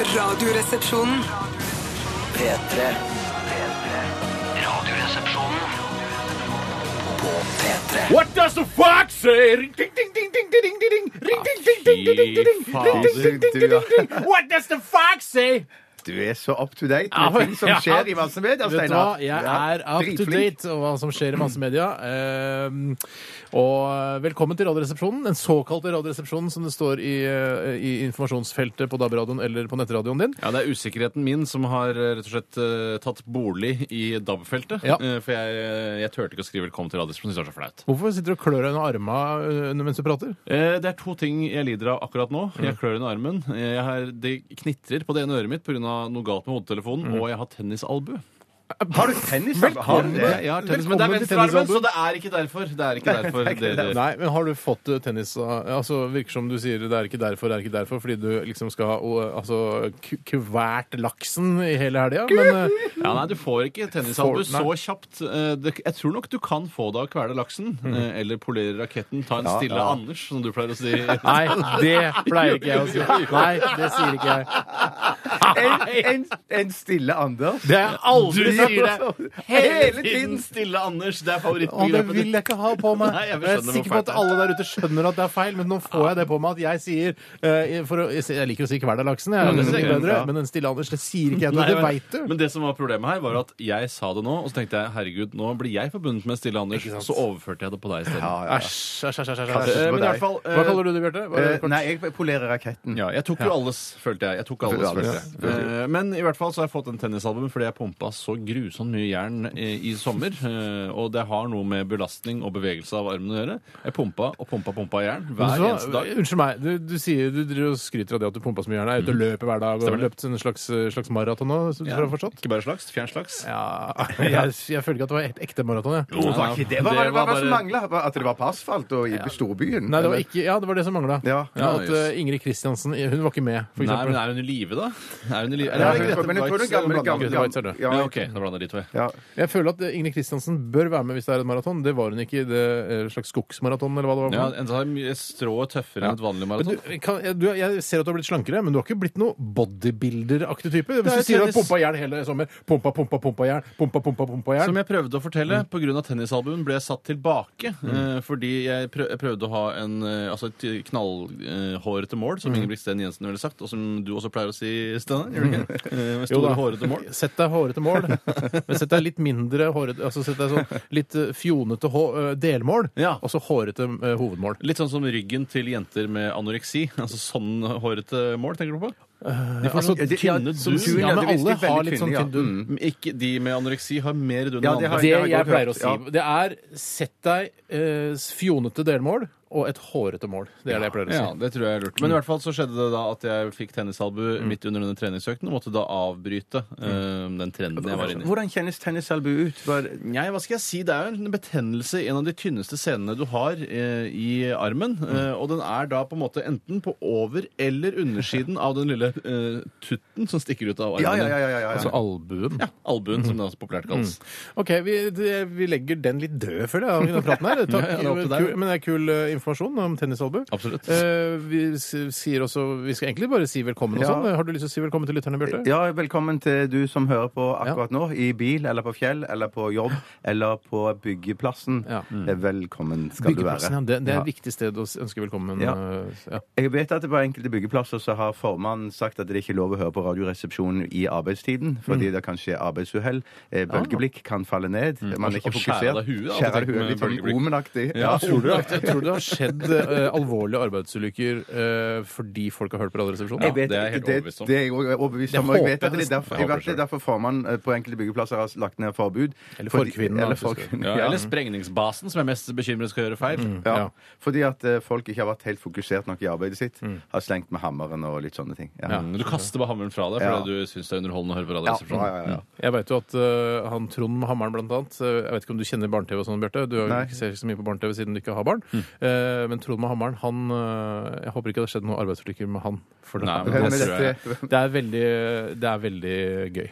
Radioresepsjonen. P3. Radioresepsjonen på P3. What does the fuck say? Ring, ding, ding, ding, ding, ding, ding, ding, ring, ding, ding, ding, ding, ding, ding, Fy ring, ding, ding, ding, ding, ding, ding. What does the fuck say? Du er så up to date Ja, med ting som ja. skjer i massemedia, Vet du hva, Steinar. jeg Ja, er up to dritflink. date om hva som skjer i massemedia. Ehm, og velkommen til Radioresepsjonen, den såkalte Radioresepsjonen som det står i, eh, i informasjonsfeltet på DAB-radioen eller på nettradioen din. Ja, Det er usikkerheten min som har eh, rett og slett eh, tatt bolig i DAB-feltet. Ja. Eh, for jeg, jeg turte ikke å skrive 'velkommen til Radiosporten'. Jeg synes det var så flaut. Hvorfor sitter du og klør deg under arma eh, mens du prater? Eh, det er to ting jeg lider av akkurat nå. Mm. Jeg klør under armen. Eh, Jeg har, det knitrer på det ene øret mitt pga. noe galt med hodetelefonen, Mm. og jeg har tennisalbue. Har du tennis? Har du det? Jeg- jeg har tennis- Men det er Velkommen til venstrearmen, tennisalbue. så det er ikke derfor. Det er ikke derfor dere Nei, men har du fått eh, tennis av- Altså, Virker som du sier det er ikke derfor, det er ikke derfor, fordi du liksom skal ha og, altså, ku- kvært laksen i hele helga. Men eh, Ja, nei, du får ikke tennisalbu Får- nei. så kjapt. Eh, det- Jeg tror nok du kan få det av å kvele laksen. Mm. eh, Eller polere raketten. Ta en Ja, stille ja. Anders, som du pleier å si. eh, nei, det pleier ikke jeg å si. Nei, det sier ikke jeg. En, en, en stille Anders. Det har jeg Du aldri sagt. sier det hele Hele tiden! tiden. Stille Anders. Det er Å, det favorittbegrepet vil ditt. jeg ikke ha på meg. Nei, jeg jeg er skjønner hvor sikker på feil at det er. alle der ute skjønner at det er feil, men nå får jeg det på meg at jeg sier eh, for å, Jeg liker å si hverdagslaksen, jeg. det det er sier mye jeg, bedre, Mm. ja. men den stille Anders, det sier ikke jeg. Nei, Det men- veit du. Men det som var problemet her, var at jeg sa det nå, og så tenkte jeg herregud, nå blir jeg forbundet med Stille Anders. Ikke sant. Så overførte jeg det på deg isteden. Ja, ja. Æsj, æsj, æsj. æsj, æsj. Kanskje Eh, på Men i deg. hvert fall Hva kaller du det, Bjarte? Eh, Hva- kort- Nei, jeg polerer raketten. Ja, jeg tok jo alles, følte jeg. Jeg tok alles, Følte følte alles, jeg. Eh, Men i hvert fall så har jeg fått en tennisalbum fordi jeg pumpa så grusomt mye jern eh, i sommer. eh, Og det har noe med belastning og bevegelse av armen å gjøre. Jeg pumpa og pumpa pumpa jern Men hver eneste så, dag. unnskyld meg, du, du, sier, du driver og skryter av det at du pumpa så mye jern. Er ute og løper hver dag og Mm. har Stemmer det. løpt en slags, eh, slags maraton nå? Så, Ja. så har jeg forstått? Ikke bare slags, fjern slags. Ja, jeg, jeg føler ikke at det var et ekte maraton. Jeg. Å, var ikke det hva var Det var det, hva var det som bare- mangla? At det var på asfalt og i storbyen? Nei, det var eller? ikke, ja, det var det som mangla. Ja. Ja, at just. eh, Ingrid Kristiansen hun var ikke med, for Nei, men eksempel. er hun i live, da? Er hun i live? Ja, Eller er det jeg tror- Grete men jeg tror det Waitz? er gammel, Blander- gammel, Grete Waitz er gammel. død. Ja, OK. Da blanda de to, jeg. ja. Jeg føler at eh, Ingrid Kristiansen bør være med hvis det er et maraton. Det var hun ikke i det eh, slags skogsmaraton eller hva det var. for Ja, noe. en sånn mye strå tøffere enn et vanlig Men maraton. Du, kan, jeg- du, jeg ser at du har blitt slankere, men du har ikke blitt noe bodybuilder-aktig type. er Hvis du sier du har tennis. pumpa jern hele sommer, pumpa, pumpa, pumpa jern, pumpa, pumpa, pumpa jern Som jeg prøvde å fortelle, på grunn av tennisalbuen ble jeg satt tilbake. eh, fordi jeg prø- jeg prøvde å ha en, eh, altså et knallhårete mål, som Ingebrigtsen Jensen ville sagt, og som du også pleier å si, Steinar. gjør du ikke? Eh, Med Jo da. store, hårete mål. Sett deg hårete mål, men sett deg litt mindre hårete Altså sett deg sånn litt eh, fjonete hå- eh, delmål, Ja. og så hårete eh, hovedmål. Litt sånn som ryggen til jenter med anoreksi. Altså sånn hårete mål, tenker du på? De får altså, sånn de- ja, tynne som dun. tun, Ja, ja, men det visste alle veldig har litt sånn kvinner, ja. tynn dun. Men Mm. Ikke de med anoreksi har mer dun enn Ja, de andre. har- Det Det har jeg jeg godt pleier å hørt, si, det er sett deg eh, fjonete delmål og et hårete mål. Det er det jeg pleier å si. Ja, det tror jeg er lurt. Men i hvert fall så skjedde det da at jeg fikk tennisalbu midt under denne treningsøkten og måtte da avbryte eh, den trenden jeg var inne i. Hvordan kjennes tennisalbue ut? Var- Nei, hva skal jeg si? Det er jo en betennelse i en av de tynneste senene du har eh, i armen. Mm. Eh, og den er da på en måte enten på over- eller undersiden av den lille eh, tutten som stikker ut av armen. Ja, ja, ja. ja, ja, Mm. ja. Altså albuen. Ja, albuen, som det også populært kalles. OK, vi, det, vi legger den litt død, føler jeg, av denne praten her. Takk, Ja, ja, det er opp til deg. kul, men det er kul eh, informasjon om tennisalbu. Absolutt. Eh, vi, s- sier også, vi skal egentlig bare si velkommen og Ja. sånn. Har du lyst til å si velkommen til lytterne, Bjarte? Ja, velkommen til du som hører på akkurat nå, i bil eller på fjell eller på jobb eller på byggeplassen. Eh, Ja. Velkommen skal du Byggeplassen, ja. være. Det, det er Ja. et viktig sted å s- ønske velkommen. Ja. eh, ja. Jeg vet at på enkelte byggeplasser så har formannen sagt at det ikke er lov å høre på Radioresepsjonen i arbeidstiden, Mm. fordi det kan skje arbeidsuhell. Eh, Bølgeblikk kan falle ned. Man er Ah. ikke Og skjære fokusert. deg huet, da, tenk Skjære deg huet, med litt sånn bølgeblikk. omenaktig. Ja, Tror du, at, tror du det har skjedd eh, alvorlige arbeidsulykker eh, fordi folk har hørt på Radioresepsjonen? Jeg vet, det er jeg ikke- helt overbevist om. Det, det er jeg også overbevist om. Det og Jeg håper vet at jeg det er nesten. derfor, jeg Jeg håper vet det er derfor formannen eh, på enkelte byggeplasser har lagt ned forbud. Eller Fordi- forkvinnen, da, Eller hvis du skal. forkvinnen, Ja, Mm. ja. eller sprengningsbasen, som jeg er mest bekymret skal gjøre feil. Ja. Ja. Fordi at eh, folk ikke har vært helt fokusert nok i arbeidet sitt. Har slengt med hammeren og litt sånne ting. Mm. Ja. Mm, Du kaster bare hammeren fra deg Ja. fordi du syns det er sånn. underholdende å høre på Ja, Radioresepsjonen. ja, ja, ja. Jeg vet jo at øh, han Trond med hammeren blant annet øh, Jeg vet ikke om du kjenner barne-TV og sånn, Bjarte. Du har jo Nei. ikke ser ikke så mye på barne-TV siden du ikke har barn. Mm. Eh, men Trond med hammeren, han øh, Jeg håper ikke det har skjedd noen arbeidsulykker med han. For det, Nei, men Hvem er det tror jeg. dette? det, er veldig, det er veldig gøy.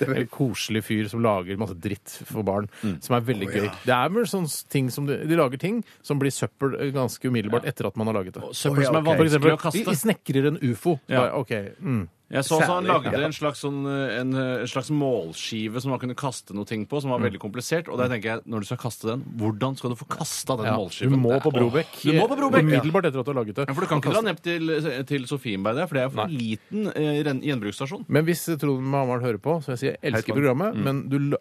En koselig fyr som lager masse dritt for barn. Mm. Som er veldig gøy. Det er vel sånn ting som de, de lager ting som blir søppel øh, ganske umiddelbart etter at man har laget det. Søppel som er Å, ja, ok. For vanskelig eksempel, å kaste. vi, vi snekrer en ufo. Ja. Bare, ok, mm. Jeg så også han Særlig, lagde ja. en slags, sånn, eh, en, eh, en slags målskive som man kunne kaste noe ting på, som Mm. var veldig komplisert. Og der tenker jeg, når du skal kaste den, hvordan skal du få kasta den Ja, målskiven? du må Det er- på Brobekk. Åh, Du må på Brobekk, ja. Umiddelbart etter at du har laget det. Ja, For du kan ikke dra ned til, til Sofienberg der, for det er for liten eh, ren- gjenbruksstasjon. Men hvis Trond Hamaren hører på, så vil jeg si jeg elsker Trond. programmet, men du, l-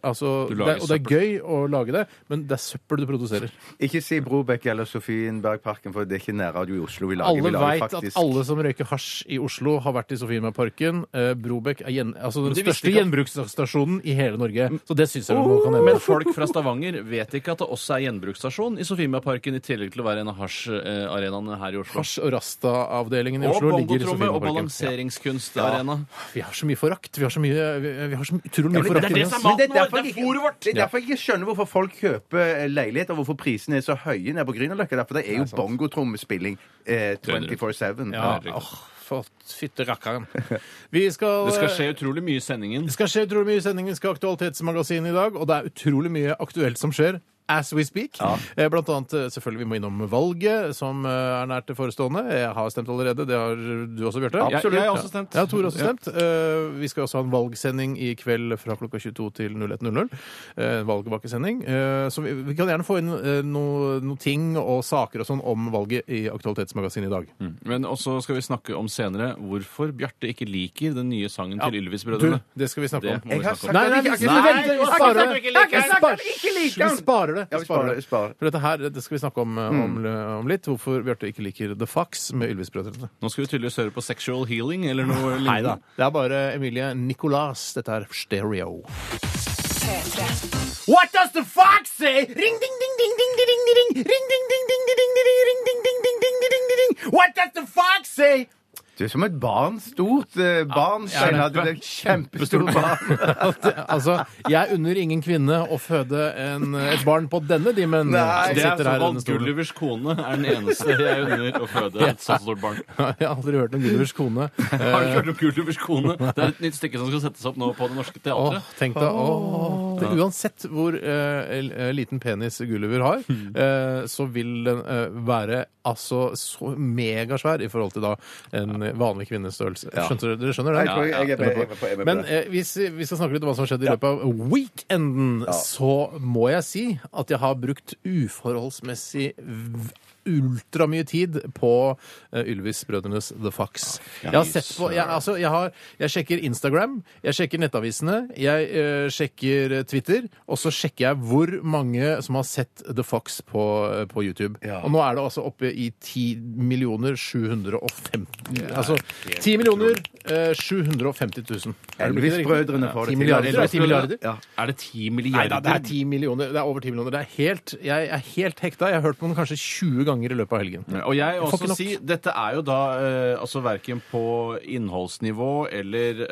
Mm. altså, Du det, lager er- og det er gøy å lage det, men det er søppel du produserer. Ikke si Brobekk eller Sofienbergparken, for det er ikke nærradio i Oslo. Vi lager, vi Alle lager veit at faktisk alle som røyker hasj i Oslo, har vært i Sofienbergparken. Eh, Brobekk er gjen, altså den de visste største ikke at- Mm. Oh! gjenbruksstasjonen i hele Norge, så det syns jeg vi må kan Men nevne. folk fra Stavanger vet ikke at det også er gjenbruksstasjon i Sofienbergparken, i tillegg til å være en av hasjarenaene her i Oslo. Hasj- og Rasta-avdelingen i Og Oslo ligger i bongotromme og Sofienbergparken. Ja. balanseringskunstarena. Vi har så mye forakt. Vi har så mye vi, vi har så utrolig mye Men forakt. det inni som oss. er maten det vår, derfor det er jeg ikke- fôret vårt. Det er derfor jeg ikke skjønner hvorfor folk kjøper eh, leiligheter, hvorfor prisene er så høye nede på Grünerløkka. Derfor det er jo bongotrommespilling eh, 24-7. Ja, Herregud. åh, for fytte rakkeren. Vi skal Det skal skje utrolig mye i sendingen. Det skal skje utrolig mye i sendingen. Vi skal ha Aktualitetsmagasinet i dag, og det er utrolig mye aktuelt som skjer. As we speak. Eh, Blant annet eh, selvfølgelig vi må innom valget, som eh, er nært forestående. Jeg har stemt allerede. Det har du også, Bjarte. Jeg- jeg har også stemt. Ja, Tore har også stemt. Eh, Vi skal også ha en valgsending i kveld fra klokka 22 til 01.00. Eh, Valgbakkesending. Eh, Så vi vi kan gjerne få inn eh, noe, noe ting og saker og sånn om valget i Aktualitetsmagasinet i dag. Men også skal vi snakke om senere hvorfor Bjarte ikke liker den nye sangen til Du, Ylvis-brødrene. det skal vi snakke Det må om. vi Jeg har snakke om. sagt Nei, nei, at vi, jeg vi, ikke- Nei, venter, jeg vi har sagt at sparer det. jeg ikke liker Vi den. sparer- Jeg ikke liker Vi den. sparer det. Ja, vi sparer det, vi sparer. For dette her det skal vi snakke om, eh, om, om litt. Hvorfor Bjarte ikke liker The Fox med Ylvis-brødrene. Nå skal vi tydeligvis høre på Sexual Healing eller noe Neida. lignende. Det er bare Emilie Nicolas. Dette er Stereo. P3. What does the fox say? Ring, ding, ding, ding, ding, ding, ding, ding, ring, ding, ding, ding, ding, ding, ding, ring, ding, ding, ding, ding, ding, ding, ding. What does the fox say? Du er som et barn. Stort eh, barn. Ja, Steinar. Du kjempe- er et kjempestort barn. Altså, jeg unner ingen kvinne å føde en, et barn på denne dimmen. Nei. som Det er sitter her sånn i denne at stolen. Gullivers kone er den eneste jeg unner å føde et så stort barn. Jeg har aldri hørt om Gullivers kone. Har du hørt om Gullivers kone? Det er et nytt stykke som skal settes opp nå på Det Norske Åh, Teatret. tenk deg, åh. Det, uansett hvor eh, l- eh, liten penis Gulliver har, eh, så vil den eh, være altså så megasvær i forhold til da en vanlig kvinnes størrelse. Skjønte dere, dere skjønner det? Jeg tror jeg- jeg er med- jeg er med på- jeg er med på Men det. eh, hvis vi skal snakke litt om hva som har skjedd i løpet av weekenden, så må jeg si at jeg har brukt uforholdsmessig v- ultramye tid på eh, Ylvis-brødrenes The Fox. Jeg har sett på jeg, altså, jeg, har, jeg sjekker Instagram, jeg sjekker nettavisene, jeg eh, sjekker eh, Twitter, og så sjekker jeg hvor mange som har sett The Fox på, eh, på YouTube. Og nå er det altså oppe i 10 millioner 715 Altså 10 millioner eh, 750 000. Er det- blir det riktig? Elvis-brødrene får det 10 til. milliarder. Er det 10 milliarder? Ja. Er det ti Nei da, det er milliarder? 10 millioner. Det er over 10 millioner. Det er helt, jeg er helt hekta. Jeg har hørt på den kanskje 20 ganger i løpet av helgen. Og jeg får ikke også nok. si, dette er jo da eh, altså verken på innholdsnivå eller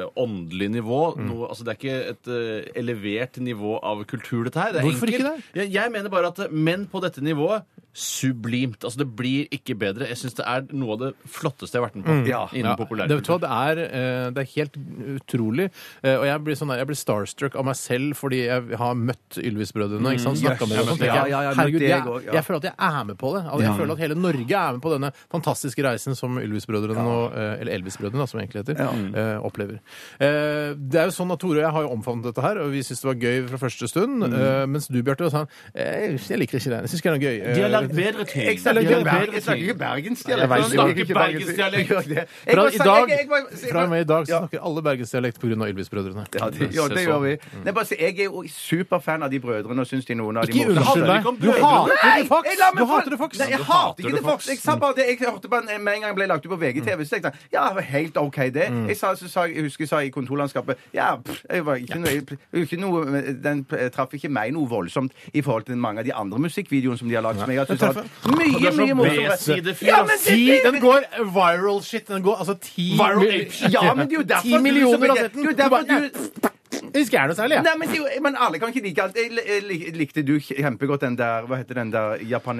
eh, åndelig nivå Mm. noe, altså Det er ikke et eh, elevert nivå av kultur, dette her. Det er Hvorfor enkelt. ikke det? Jeg, jeg mener bare at eh, menn på dette nivået sublimt. Altså Det blir ikke bedre. Jeg syns det er noe av det flotteste jeg har vært med på Ja. innen Ja, Mm. det, populærkultur. vet du hva, det, er, eh, det er helt utrolig. Eh, Og jeg blir, sånn, der- jeg blir starstruck av meg selv fordi jeg har møtt Ylvis-brødrene. ikke sant? Snakket med dem. og sånn, Mm, Ja, tenker jeg, ja, jeg har møtt Herregud, deg jeg, også, ja. jeg føler at jeg er med på det. Altså, jeg føler at hele Norge er med på denne fantastiske reisen som Ylvis-brødrene, nå, eh, eller Elvis-brødrene, da, som det egentlig heter, eh, opplever. Eh, Det er jo sånn at Tore og jeg har jo omfavnet dette her, og vi syntes det var gøy fra første stund. Mm. eh, Mens du, Bjarte, var sånn eh, Jeg liker ikke det. Jeg syns ikke det er noe gøy. Eh, De har lagd bedre ting. Jeg snakker ikke De har lagd berg- bedre jeg snakker ting. Jeg ikke vet bergensdialekt. ikke. Bergensdialekt. Jeg gjør det. Jeg Fra må Eh, i si- dag, jeg- jeg må- fra og med i dag så Ja. snakker alle bergensdialekt pga. Ylvis-brødrene. Ja, det, ja, det gjør vi. Nei, bare, si, jeg er jo superfan av de brødrene og syns de noen av de Mm. Ikke unnskyld handler deg. ikke om Du brødrene. hater det, Fox! jeg lar meg Du få- hater det, Fox! Nei, jeg Du hater ikke hater det, Fox. Jeg, sa bare det. jeg hørte bare en- med en gang ble lagt ut på VGTV, så tenkte jeg ja, det var helt OK, det. Jeg, sa, så sa, jeg husker jeg sa i kontorlandskapet ja, pff, jeg var ikke noe, jeg- ikke noe Den eh, traff ikke meg noe voldsomt i forhold til mange av de andre musikkvideoene som de har lagd. Som jeg har syntes har vært mye, mye morsommere. B-sidefyr, Ja, ass. men Si, det- den går viral shit. Den går altså ti Viral mil- ape shit. Ja, men det er jo derfor Ti millioner du, har sett den. Det er jo derfor du Jeg husker jeg er noe særlig, jeg. Nei, men, det er jo- men alle kan ikke like alt. Jeg li- li- likte du kjempegodt den der Hva heter den der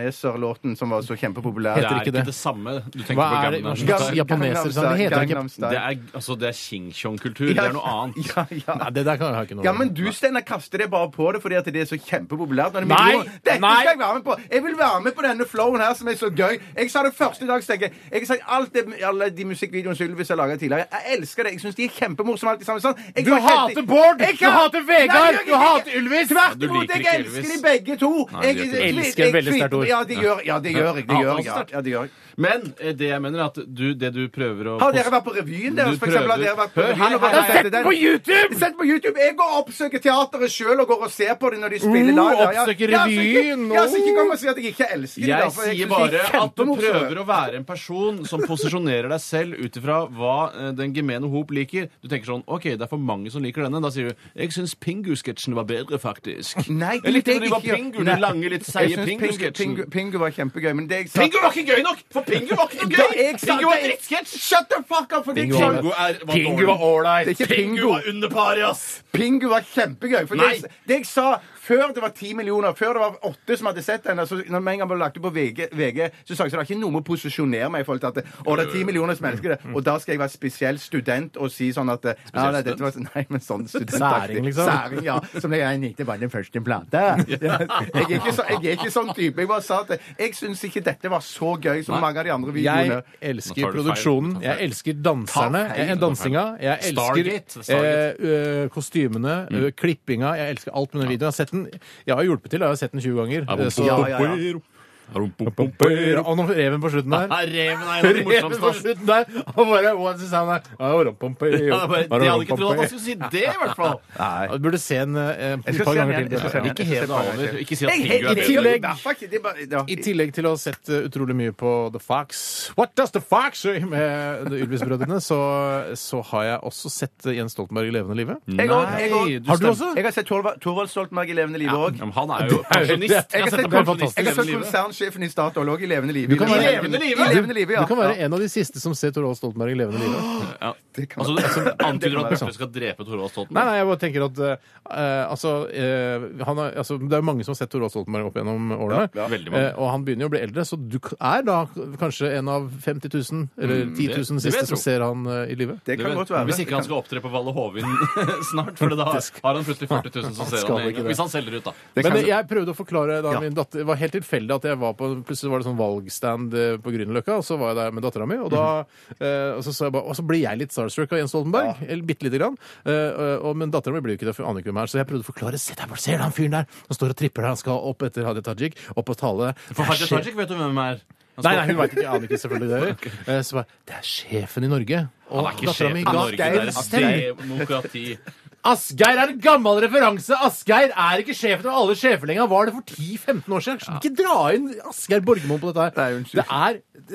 japaneserlåten som var så kjempepopulær? Det Heter er ikke ikke det. det samme du tenker Hva på er gamle det? Hva Gangnam slags Style. japaneser? sa Det heter ikke Det er, altså, det er Xingqiong-kultur. Det er noe annet. Ja, ja. Nei, det der kan jeg ha ikke noe Ja, men du, Steinar, kaster det bare på det fordi at det er så kjempepopulært. Når det er Nei, millioner. Dette nei. skal jeg være med på! Jeg vil være med på denne flowen her som er så gøy. Jeg sa det første dag, så tenker jeg Jeg sa alt det, alle de musikkvideoene som Ylvis har laga tidligere. Jeg elsker det. Jeg syns de er kjempemorsomme alt de sammen. Sånn. Jeg Du var helt- hater Bård! Jeg Du hat- hater Vegard! Nei, jeg gjør Du ikke- hater Ylvis! Tvert Du imot! liker Jeg ikke elsker Ylvis. de begge to! Nei, du gjør ikke det. Elsker er et veldig sterkt ord. Ja, det gjør, ja, det gjør jeg. Det gjør jeg. Ja, ja, det gjør jeg. Men eh, det jeg mener er at du, det du prøver å Har dere poste- vært på revyen Du deres? For eksempel, har prøver- dere vært på Hør, revyen her- og vært her- og sett den? På YouTube! Sett på YouTube! Jeg går og oppsøker teateret sjøl og går og ser på det når de spiller Uh, live. Ja, ja. oppsøker Ja, så ikke- revyen, Ja, så ikke uh. kom og si at jeg ikke elsker det. da, Jeg for sier synes de bare er at du kjempemorsomme. prøver å være en person som posisjonerer deg selv ut ifra hva eh, den gemene hop liker. Du tenker sånn OK, det er for mange som liker denne. Da sier du 'Jeg syns Pingu-sketsjen var bedre, faktisk'. Nei, jeg likte det når de var ikke- Pingu, Nei. den lange, litt Jeg seige synes Pingu-sketsjen. Pingu- Pingu var kjempegøy, men det jeg sa Pingu var ikke gøy nok! For Pingu var ikke noe Da gøy! jeg sa Pingu var det- drittsketsj! Shut the fuck up! For det, Pingu var- jeg sa- Pingu er, var dårlig. det Pingu var er ålreit. ikke Pingu Pingu. var under pari, ass! Pingu var kjempegøy. For det, Nei. jeg- det jeg sa før det var ti millioner, før det var åtte som hadde sett den altså, Når vi en gang ble lagt ut på VG, VG så sa jeg så det er ikke noe med å posisjonere meg i forhold til at det- Å, det er Øh. ti millioner som elsker det, Mm. og da skal jeg være spesiell student og si sånn at ja, nei, dette var, nei, men sånn studentaktig. Særing, liksom. Særing, ja. Som det jeg likte bare den første plata. Jeg er ikke, så, jeg er ikke sånn type. Jeg bare sa at jeg syns ikke dette var så gøy som mange av de andre videoene. Jeg elsker tar du feil. produksjonen. Du tar feil. Jeg elsker danserne. Ta feil. Jeg, dansinga. Jeg Stargate. elsker eh, Stargate. Mm. ø, kostymene, ø, klippinga. Jeg elsker alt med den videoen. Jeg har sett den Jeg har hjulpet til. Jeg har sett den 20 ganger. Eh, Så, Ja, ja, ja. Og nå reven på slutten der. Nei, Reven er en av de Reven på morsomste. ass. slutten der, og bare What's the sound der? Ja, rompompei, Ja, det er bare- De hadde ikke trodd at rompompei. han skulle si det, i hvert fall. Nei. Du burde se en eh, et skal par se den ganger igjen. Jeg skal se til. den Ja. igjen. Ikke hev deg over. Ikke si at Jeg, Pingu jeg, er jeg, bedre. tillegg- det er bare- ja. I tillegg til å ha sett eh, utrolig mye på The Fox What Does The Fox say? med The Ylvis-brødrene, så, så har jeg også sett eh, Jens Stoltenberg i levende live. Jeg òg, jeg òg. Nei, Har du stemmer. også? Jeg har sett Torvald- Torvald Stoltenberg i levende live Ja, òg. men han er jo pensjonist. Jeg Jeg Jeg har sett, setter det pensjonist er i jeg har sett hele livet. konsernsjefen i Statoil òg i levende live. Du kan være- I levende live! I levende live, ja. Du kan være en av de siste som ser Torvald Stoltenberg i levende live. Ja. kan Altså, man- du antyder Det kan at være Bjarte skal drepe Torvald Nei, Stoltenberg? nei, jeg bare tenker at eh, altså, eh, han er, altså Det er jo mange som har sett Torvald Stoltenberg opp gjennom årene. Ja, ja. Veldig mange. Eh, og han begynner jo å bli eldre, så du k- er da kanskje en av 50 000 eller 10 Mm, det- det vil jeg 000 siste som tro. ser han eh, i live. Det Du vet, kan godt være. Hvis ikke han skal opptre på Valle Hovin snart, for da har han plutselig 40 000 som ser skal han. med en ikke gang. det. Hvis han selger ut, da. Men jeg prøvde å forklare da min datter, Det var helt tilfeldig at jeg var på Plutselig var det sånn valgstand eh, på Grünerløkka, og så var jeg der med dattera mi, og da Mhm. eh, og så sa jeg bare, og så blir jeg litt starstruck av Jens Stoltenberg. Eller bitte lite grann. Eh, og, men dattera mi blir jo ikke det, for hun aner ikke hvem er, så jeg prøvde å forklare. Se der, bare ser du han fyren der? Han står og tripper der, han skal opp etter Hadia Tajik, opp og tale. For Der Hadia skjer- Tajik vet du hvem er. Han Nei, står- nei, hun veit ikke. Jeg aner ikke selvfølgelig det. heller. Eh, Så bare Det er sjefen i Norge. Og Han er ikke datteren sjef min i ga Norge. Det er Asgeir stemme. et demokrati. Asgeir er en gammel referanse! Asgeir er ikke sjefen av alle sjefer lenger. Han var det for 10-15 år siden. Ikke dra inn Asgeir Borgermoen på dette Nei, her. unnskyld. Det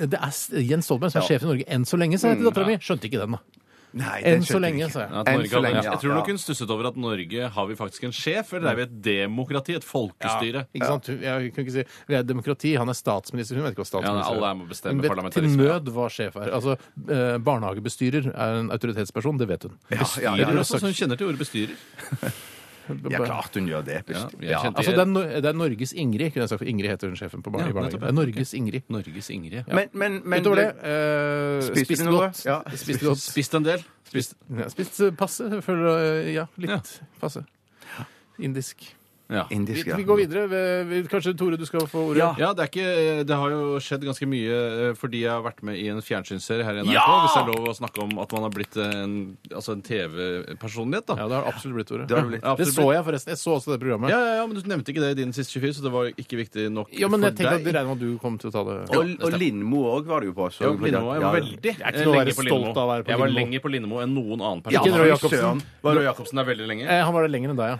er, det er S- Jens Stoltenberg som er sjef i Norge enn så lenge, sa jeg til dattera mi. Skjønte ikke den, da. Nei, den Enn skjønte jeg så lenge, ikke. sa jeg. At Enn Norge, så har- lenge, ja. jeg tror nok Ja. hun stusset over at Norge har vi faktisk en sjef, eller er vi et demokrati? Et folkestyre? Ikke sant? Jeg kunne ikke si Vi er et demokrati, han er statsminister. Hun vet ikke hva Ja, nei, statsminister alle er med å bestemme Hun vet til parlamentarisme, ja. nød hva sjef er. Altså, eh, barnehagebestyrer er en autoritetsperson, det vet hun. Ja, Er ja, det ja. også sånn Hun kjenner til ordet bestyrer. ja, klart hun gjør det. best- jeg kjente- Altså, det er, Nor- det er Norges Ingrid, kunne jeg sagt, for Ingrid heter hun sjefen på bar Ja, i barnehagen. nettopp, ja. Det er Norges Ingrid. Norges Ingrid. Men, men, men Utover det eh, Spiste spist du noe? godt. Ja. Spist godt. Spist en del. Spist. Ja, spist eh, passe. Jeg Føler, eh, ja, litt passe. Indisk. Ja. Indisk, ja. Vi går videre. Vi- vi- Kanskje Tore, du skal få ordet. Ja, det, er ikke, det har jo skjedd ganske mye eh, fordi jeg har vært med i en fjernsynsserie her i NRK. Ja! Hvis det er lov å snakke om at man har blitt en, altså en TV-personlighet, da. Ja, det har det absolutt blitt Tore. har det blitt. Det så jeg forresten. Jeg så også det programmet. Ja, ja, ja, men Du nevnte ikke det i din siste 24, så det var ikke viktig nok Ja, men jeg for tenkte at deg. det regner med at du kom til å ta det. Og, og Lindmo òg var det jo på. Så Ja, Lindmo, jeg var veldig er ikke noe lenge å være på Lindmo. stolt av å være på Jeg var Lindmo. lenger på Lindmo enn noen annen Ikke person. Roy Jacobsen. Var Roy Jacobsen der veldig lenge? Eh, Han var der lenger enn deg, ja.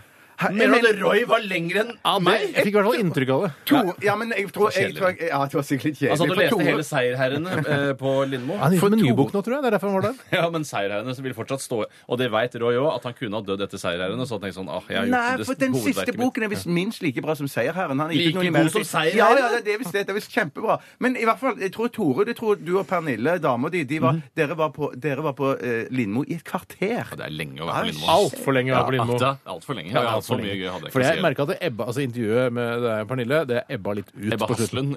Men Roy var lengre enn Jeg meg! fikk i hvert fall inntrykk av det. Tore, ja, men jeg tror, jeg, tror jeg, ja, det var sikkert litt kjedelig. Han satt og for leste Tore- hele Seierherrene eh, på Lindmo. Han gikk For med en ny Tore- bok nå, tror jeg. Det er derfor han var der. Ja, men Seierherrene som vil fortsatt stå Og det veit Roy òg, at han kunne ha dødd etter Seierherrene. Så han tenkte sånn, ah, jeg har gjort Nei, det for den hovedverket siste mitt. boken er visst minst like bra som Seierherren. Han er ikke Like noe i god mellom- som Seierherren? Ja, ja, det er visst det. Det er visst kjempebra. Men i hvert fall, jeg tror Tore, det tror du og Pernille, dama di, de Mhm. var, dere var på, dere var på eh, Lindmo i et kvarter. Ja, det er lenge å være på Lindmo. Altfor lenge å være på Lindmo. Ja, Altfor lenge. Ja, Ja, alt så for mye lenge. gøy hadde jeg For ikke. jeg å si. merka at det ebba, altså intervjuet med deg, Pernille, det ebba litt ut. Ebba på Haslund. slutten.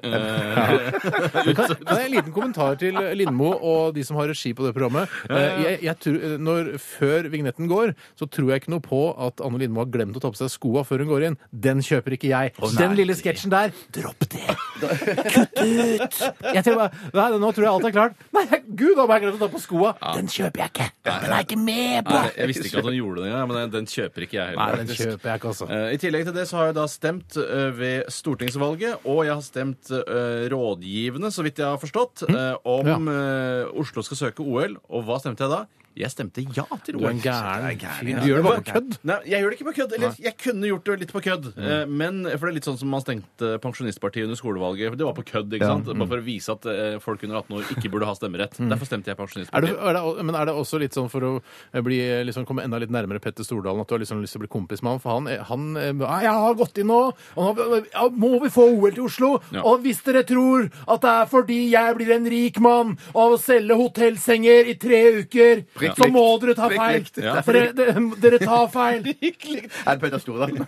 eh, Men Kan, kan jeg ha en liten kommentar til Lindmo og de som har regi på det programmet? Eh, Jeg, jeg tror, eh, når, før vignetten går, så tror jeg ikke noe på at Anne Lindmo har glemt å ta på seg skoa før hun går inn. Den kjøper ikke jeg. Den lille sketsjen der, dropp det! Kutt ut! Jeg tror bare, nei, nå tror jeg alt er klart. Nei, gud, da må jeg glemt å ta på skoa! Den kjøper jeg ikke! Den er jeg ikke med på! Nei, jeg visste ikke at hun gjorde det engang, men den- den kjøper ikke jeg Nei, heller. den faktisk. kjøper jeg ikke, altså. Eh, I tillegg til det så har jeg da stemt eh, ved stortingsvalget, og jeg har stemt eh, rådgivende, så vidt jeg har forstått, Mm. eh, om eh, Oslo skal søke OL. Og hva stemte jeg da? Jeg stemte ja til Du er OL. en gæren gæren, fyr. ja. Du gjør det bare på kødd. Mm. Nei, jeg gjør det ikke på kødd. Eller jeg kunne gjort det litt på kødd. Eh, Men For det er litt sånn som man stengte Pensjonistpartiet under skolevalget. for Det var på kødd, ikke sant? Mm. Bare for å vise at eh, folk under 18 år ikke burde ha stemmerett. Derfor stemte jeg Er det, Pensjonistpartiet. er det, men er det også litt sånn for å bli, liksom, komme enda litt nærmere Petter Stordalen at du har liksom lyst til å bli kompis med han? For han, er- han er- «Nei, jeg har gått inn nå, og nå eh, ja, må vi få OL til Oslo. Ja. Og hvis dere tror at det er fordi jeg blir en rik mann av å selge hotellsenger i tre uker, Prikk så likt. må dere ta Prikk feil. likt. Ja. Dere, dere, dere tar feil. Er det Petter Stordalen?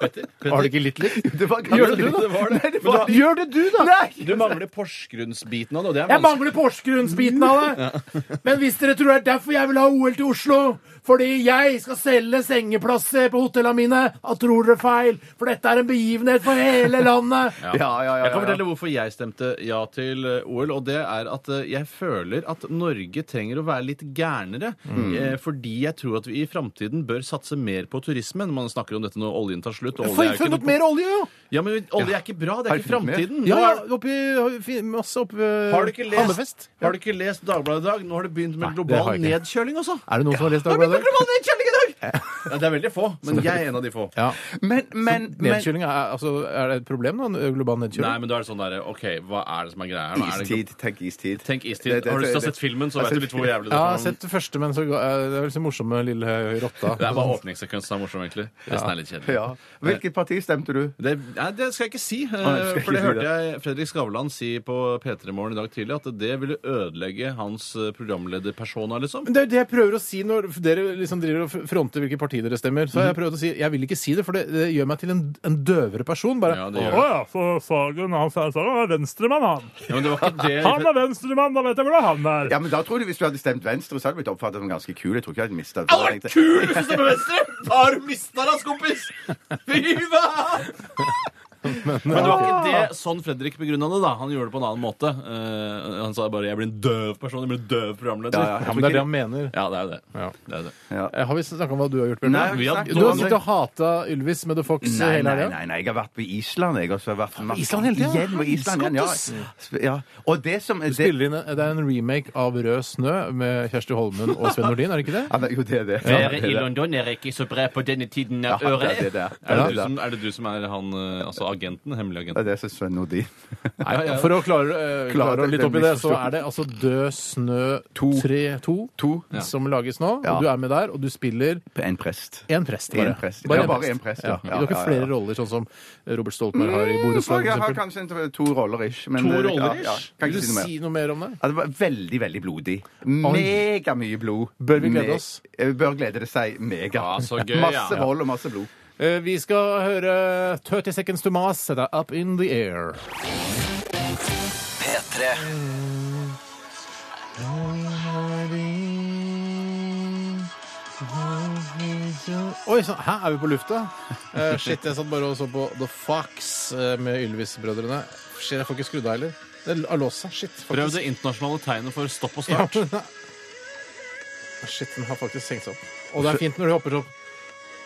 Har det ikke litt likt? Det var Gjør det du, da? Det var det. Nei, det var... Gjør det du, da! Nei! Du mangler Porsgrunnsbiten av det. og det er Jeg vanskelig. mangler Porsgrunnsbiten av det. Men hvis dere tror det er derfor jeg vil ha OL til Oslo, fordi jeg skal selge sengeplasser på hotellene mine, da tror dere feil. For dette er en begivenhet for hele landet. Ja, ja, ja. ja, Jeg kan ja. fortelle hvorfor jeg stemte ja til eh, OL, og det er at eh, jeg føler at Norge trenger å være litt gærnere. eh, Fordi jeg tror at vi i framtiden bør satse mer på turismen. Man snakker om dette når oljen tar slutt. Og olje Få er jo ikke funnet noe... mer olje, jo! Ja, men olje er ikke bra. Det er ikke Har du funnet mer? framtiden. Ja, Nå ja, er- oppi, fi- masse oppi ved Har du ikke Hammerfest. lest, har du ikke lest Dagbladet i dag? Nå har det begynt med Nei, det har global jeg ikke. nedkjøling også. Er det noen som har lest Det har begynt Dagbladet? med global nedkjøling i dag! Ja, det er veldig få, men jeg er en av de få. Ja. Men, men, men Nedkjøling, er, altså, er det et problem, da? Global Nei, nedkjøling? men da er det sånn derre OK, hva er det som er greia? her? nå? Er det glo- Istid. Tenk istid. Tenk istid. Det- det- Har du lyst til å det- ha sett filmen, så vet du litt hvor jævlig det Ja, kan- jeg har sett det første, men så, ga- eh, det er vel så morsomme lille rotta. Det er bare åpningssekvensen som er morsom, egentlig. Resten er litt kjedelig. Ja. Hvilket parti stemte du? Det, nei, det skal jeg ikke si, eh, nei, du skal for det ikke si hørte jeg Fredrik Skavlan si på P3 Morgen i dag tidlig, at det ville ødelegge hans eh, programlederpersona, liksom. Men Det er jo det jeg prøver å si når dere liksom driver og fronter hvilke partier dere stemmer. Så har jeg prøvd å si Jeg vil ikke si det, for det, det gjør meg til en, en døvere person. Bare Ja, det gjør Å ja, for Sagen han sa han er venstremann, han. Ja, men det var ikke det. er venstremann, da vet jeg hvordan han er. Ja, men da tror du Hvis du hadde stemt Venstre, så hadde du blitt oppfattet som ganske kul. Jeg tror ikke jeg hadde mistet det. Jeg tenkte- kul hvis du stemmer venstre! Da har du mista deg, kompis! Fy faen! Men det var ikke det sånn Fredrik begrunna det. da Han gjorde det på en annen måte. Eh, han sa bare 'jeg blir en døv person', jeg blir en døv programleder. Ja, ja, Ja, men det er det han mener. Ja, det er jo det. Ja. det, er jo det. Eh, Har vi snakka om hva du har gjort, Bjørn? Nei, vi har- snakket Du har om det. sittet og hata Ylvis med The Fox Nei, hele nei, helga. nei, nei, jeg har vært på Island. Jeg og så har jeg vært på Island hele tiden? Igjen på Island, igjen, Skottis. ja. Sp- ja. Og det som Du spiller inn en- Det er en remake av Rød snø med Kjersti Holmen og Sven Nordin, er det ikke det? ja, men, Jo, det er det. Ja, Været det i er det. London er ikke så bra på denne tiden Ja, av det året. er det. det er. Er, Ja, det du det som, er det du som er han eh, altså agenten? Hemmelig er agenten? det som er Sven Nordin. Nei, For å klare, eh, Klare klare det- litt det opp i det, så misforstått. er det altså Død snø 3-2 To. som lages nå. Ja. Og du er med der, og du spiller En prest. Én prest, En bare. prest. Ja, bare en prest, ja. Ja. Ja, Du har ikke ja, ja, flere ja. roller, sånn som Robert Stoltenberg har i Så Borettslag? jeg har for eksempel? kanskje en- to roller ish. Men, eh, To ja, roller, ish? Ja, kan Vil ikke du si noe mer. si noe mer om det? Ja, det var veldig, veldig blodig. Mega mye blod. Bør vi glede Me- oss? Eh, Bør glede det seg mega. Ja, så gøy, ja. masse vold og masse blod. Eh, Vi skal høre 30 Seconds to Mars, det er Up In The Air. P3 Oi sann, hæ, er vi på lufta? Eh, shit, jeg satt bare og så på The Fox eh, med Ylvis-brødrene. Shit, jeg får ikke skrudd av heller. Det har låst seg. Shit. Prøv faktisk. det internasjonale tegnet for stopp og Ja, Ah, start. men- Shit, den har faktisk senkt seg opp. Og det er fint når du hopper opp.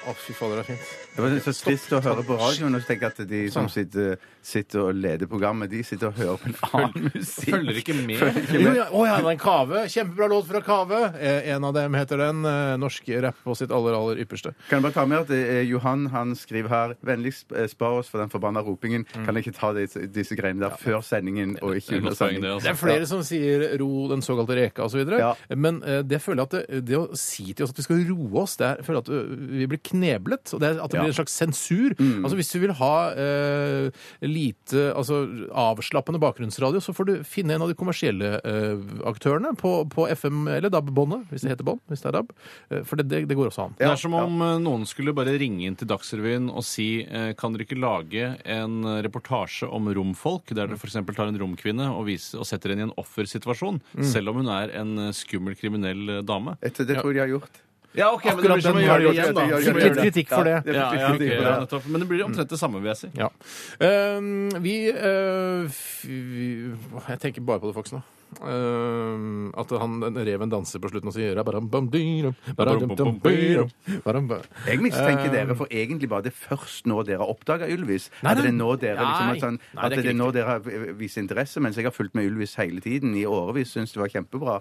Å, fy fader, det er fint. Det var så trist å høre på radioen og så tenke at de som sitter, sitter og leder programmet, de sitter og hører på en annen musikk. Følger ikke med. Jo, ja, å, ja, det er en Kave. Kjempebra låt fra Kave. Eh, en av dem heter den. Eh, norsk rapp på sitt aller, aller ypperste. Kan jeg bare ta med at eh, Johan han skriver her Vennligst eh, spar oss for den forbanna ropingen. Kan jeg ikke ta disse, disse greiene der før sendingen Mm. og Det er et godt ikke under poeng, det, sendingen? altså. Det er flere som sier ro den såkalte reka osv. videre Ja. Men eh, det føler jeg at det, det å si til oss at vi skal roe oss, det er, jeg føler at ø, vi blir kneblet. Og det er, at det Ja. Mm. blir en slags sensur. Altså Hvis du vil ha eh, lite altså, avslappende bakgrunnsradio, så får du finne en av de kommersielle eh, aktørene på, på FM, eller DAB-båndet, hvis det heter bånd, hvis det er DAB. Eh, For det, det, det går også an. Det er som om eh, noen skulle bare ringe inn til Dagsrevyen og si eh, kan dere ikke lage en eh, reportasje om romfolk, der dere f.eks. tar en romkvinne og, viser, og setter henne i en offersituasjon, selv om hun er en eh, skummel kriminell eh, dame? Dette, det tror jeg de har gjort. Ja, ok, men det Akkurat blir som å den har gjøre det de igjen, gjort. da. Ja, Som å litt gjøre det. kritikk for det. Ja, ja, ok, kritikk for ja, det. nettopp. Men det blir omtrent det samme, vil jeg si. Ja. Ehm, vi, eh, f- vi Jeg tenker bare på det, Fox, nå. Ehm, at han, den reven danser på slutten og sier «Rabadambamdiram, badamdamdiram, badamba». Jeg mistenker Eh, dere for egentlig bare det først nå dere oppdaga Ylvis. Nei, At det er nei. nå dere, liksom, Nei. at sånn, Nei, at det er det er ikke nå dere har eh, vist interesse, mens jeg har fulgt med Ylvis hele tiden i årevis. Syns det var kjempebra.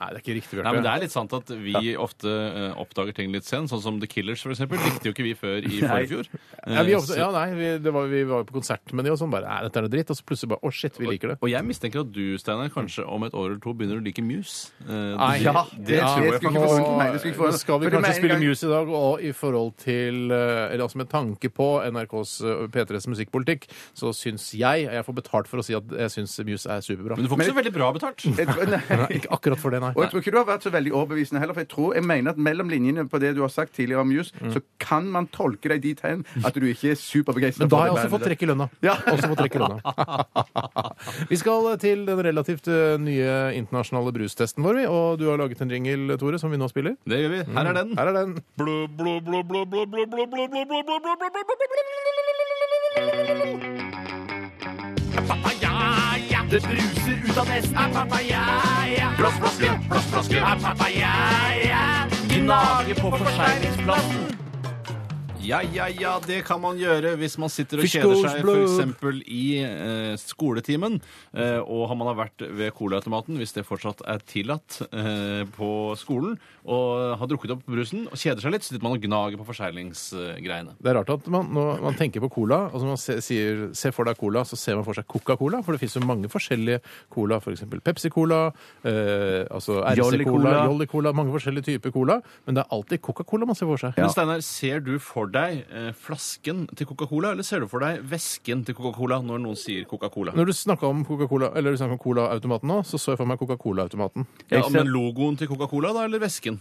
Nei, det er ikke riktig, Nei, men Det Bjarte. er litt sant at vi ofte eh, oppdager ting litt sent, sånn som The Killers f.eks. Likte jo ikke vi før i forfjor. Ja, vi, Eh, ofte, så- ja, nei, vi, det var, vi var på konsert med de og sånn bare Nei, dette er noe dritt. Og så plutselig bare Å, shit, vi liker det. Og jeg mistenker at du, Steinar, kanskje om et år eller to begynner å like Muse. Eh, Nei, det- Ja, det det tror jeg skulle ikke Nå- få vondt i meg, det skulle ikke få vondt. nå skal vi For det kanskje med en spille gang- Muse i dag, og i forhold til eh, Eller altså med tanke på NRKs eh, P3s musikkpolitikk, så syns jeg Jeg får betalt for å si at jeg syns Muse er superbra. Men du får ikke så veldig bra betalt. Jeg tror- nei. Nei, ikke akkurat for det, nei. Og jeg tror ikke du har vært så veldig overbevisende heller, for jeg tror, jeg mener at mellom linjene på det du har sagt tidligere om jus, Mm. så kan man tolke deg dit hen at du ikke er superbegeistra. Men da har jeg også fått trekk i lønna. Ja. Også fått trekk i lønna. Vi skal til den relativt eh, nye internasjonale brustesten vår, vi. Og du har laget en jingle, Tore, som vi nå spiller. Det gjør vi. Her er den. Her er den. Det bruser ut av nesten. Ah, papaya, ja. Plastflaske, plastflaske. Ah, papaya, ja. Gnage på forseglingsplassen. Ja, ja, ja, det kan man gjøre hvis man sitter og Fish kjeder goes seg blue. f.eks. i eh, skoletimen, eh, og har man har vært ved colaautomaten, hvis det fortsatt er tillatt eh, på skolen, og har drukket opp brusen og kjeder seg litt, så sitter man og gnager på forseglingsgreiene. Det er rart at man, når man tenker på cola, altså man se, sier 'se for deg cola', så ser man for seg Coca-Cola, for det fins jo mange forskjellige cola, f.eks. Pepsi-Cola, eh, altså RC-Cola, Jolly-Cola. Jolly-Cola, mange forskjellige typer cola, men det er alltid Coca-Cola man ser for seg. Men Steinar, ser du for deg eh, flasken til Coca-Cola, eller ser du for deg væsken til Coca-Cola når noen sier Coca-Cola? Når du snakka om Coca-Cola, eller du snakket om Cola-automaten nå, så så jeg for meg Coca-Cola-automaten. Ja, Jeg ser- men logoen til Coca-Cola, da, eller væsken?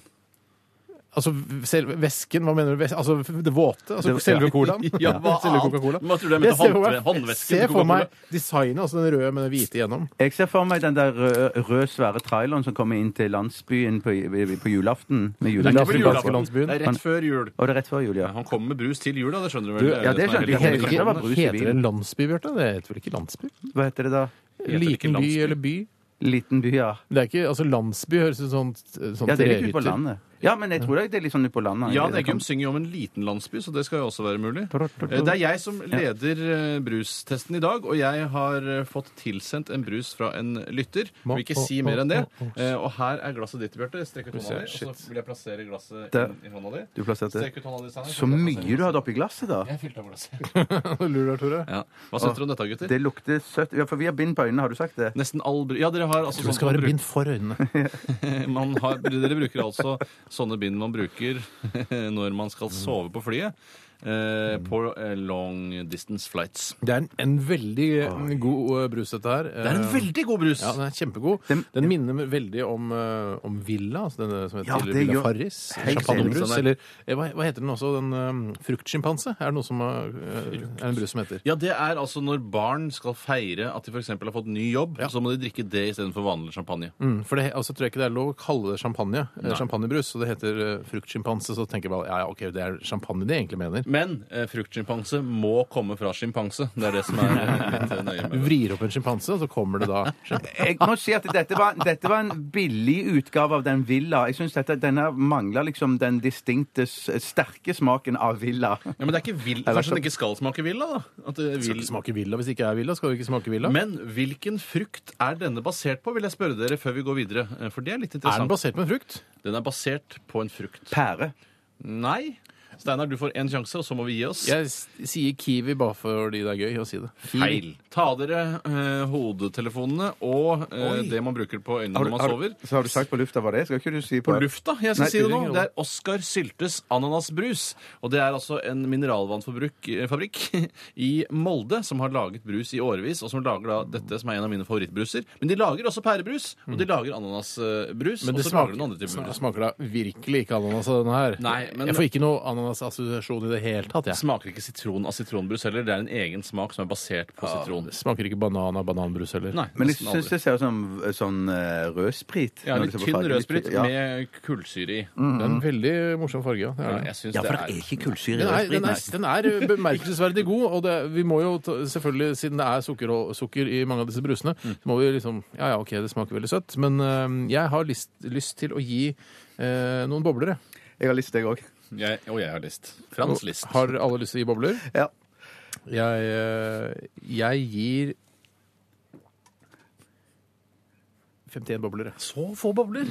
Altså selve væsken? Hva mener du? Væs- Altså det våte? Altså Det- selve colaen? Ja, hva selve annet? Coca-Cola. Hva tror du jeg mente? ser for Håndve- meg- håndvæsken Se til for Coca-Cola? meg designet, altså den røde med det hvite igjennom. Jeg ser for meg den der røde, rød, svære traileren som kommer inn til landsbyen på, på julaften. Med Det er ikke julelaften. på julaften. landsbyen. Det er rett før jul. Og det er rett før jul, ja. Han kommer med brus til jul, da. Det skjønner du vel? Du, Det er ja, det som det er skjønte hele jeg. kommunikasjonen. Det var brus i Heter det bilen. landsby, Bjarte? Det heter vel ikke landsby? Hva heter det da? heter ikke Liten by landsby. eller by? Liten by, ja. Det er ikke, altså Landsby høres ut som sånn, sånn Ja, det er litt ute på trehytter. landet. Ja, men jeg tror det er litt sånn ute på landet. Jan Eggum synger jo om en liten landsby, så det skal jo også være mulig. Eh, Det er jeg som leder eh, brustesten i dag, og jeg har eh, fått tilsendt en brus fra en lytter. Jeg Vil ikke si mer enn det. Eh, Og her er glasset ditt, Bjarte. Strekk ut hånda di, og så vil jeg plassere glasset Der. inn i hånda di. Du plasserte Strekk ut hånda di, Steinar. Så mye du hadde oppi glasset, da. Jeg fylte av glasset. Lurer deg, Tore. Ja. Hva syns dere om dette, gutter? Det lukter søtt. Ja, for vi har bind på øynene, har du sagt det? Nesten all brus Ja, dere har altså Det skal sånn- være bind for øynene. man har, dere bruker altså sånne bind man bruker når man skal sove på flyet. Eh, på eh, long distance flights. Det er en, en veldig Ah. eh, god eh, brus, dette her. Eh, Det er en veldig god brus! Ja, den er kjempegod. Den, Den- minner meg veldig om, eh, om Villa, altså denne som heter Ja, det Villa gjør- Farris. Helt Champagnebrus. enig. Eller eh, hva, hva heter den også? Den um, Fruktsjimpanse? Er det noe som har, eh, er en brus som heter? Ja, det er altså når barn skal feire at de f.eks. har fått ny jobb, så må de drikke det istedenfor vanlig champagne. Mm, for det, altså, tror jeg ikke det er lov å kalle det champagne. eh, Champagnebrus. Og det heter uh, fruktsjimpanse, så tenker jeg bare ja, ja, OK, det er champagne de egentlig mener. Men eh, fruktsjimpanse må komme fra sjimpanse. Det er det som er litt eh, nøye Du med det. vrir opp en sjimpanse, og så kommer det da sjimpans- Jeg må si at dette var, dette var en billig utgave av den Villa. Jeg synes dette, Denne mangler liksom den distinkte, s- sterke smaken av Villa. Ja, men det er ikke vill, Kanskje den ikke skal smake villa, da? At det Skal vil, ikke smake villa hvis det ikke er villa? Skal det ikke smake villa? men hvilken frukt er denne basert på, vil jeg spørre dere før vi går videre. eh, For det er litt er den interessant. basert på en frukt? Den er basert på en frukt. Pære. Nei. Steinar, du får én sjanse, og så må vi gi oss. Jeg s- sier kiwi bare fordi det er gøy å si det. Feil. Ta av dere eh, hodetelefonene og eh, det man bruker på øynene når man sover. så har du sagt på lufta hva det er? Skal ikke du si På lufta, jeg skal Nei, si det nå. spiller ingen Det er Oscar Syltes ananasbrus. Og det er altså en mineralvannfabrikk eh, i Molde som har laget brus i årevis, og som lager da dette, som er en av mine favorittbruser. Men de lager også pærebrus, og de lager ananasbrus, Men og det så smaker, lager de andre typer smaker, brus. smaker da virkelig ikke ananas av denne her. Nei, men- Jeg får ikke noe anananassosiasjon i det hele tatt. Jeg. Smaker ikke sitron av sitronbrus heller. Det er en egen smak som er basert på sitron. Det Smaker ikke banan av bananbrus heller. Nei, Men jeg nesten aldri. syns det ser ut som eh, sånn eh, rødsprit. ja, når litt du ser på tynn fargen. rødsprit ja. Mm. med kullsyre i. Det er en veldig morsom farge. Ja. Mm. Det Ja, er det. jeg synes Ja, for det det er er ikke kullsyre i Den er, rødsprit. den, er, Nei. den er eh, bemerkelsesverdig god, og det, vi må jo ta, selvfølgelig, siden det er sukker, og, sukker i mange av disse brusene, så må vi liksom Ja ja, OK, det smaker veldig søtt, men øhm, jeg har lyst, lyst til å gi øh, noen bobler, jeg. Jeg har lyst, jeg òg. jeg, Og jeg har list. Frans List. Har alle lyst til å gi bobler? Ja. Jeg, øh, jeg gir 51 bobler, jeg. Så få bobler!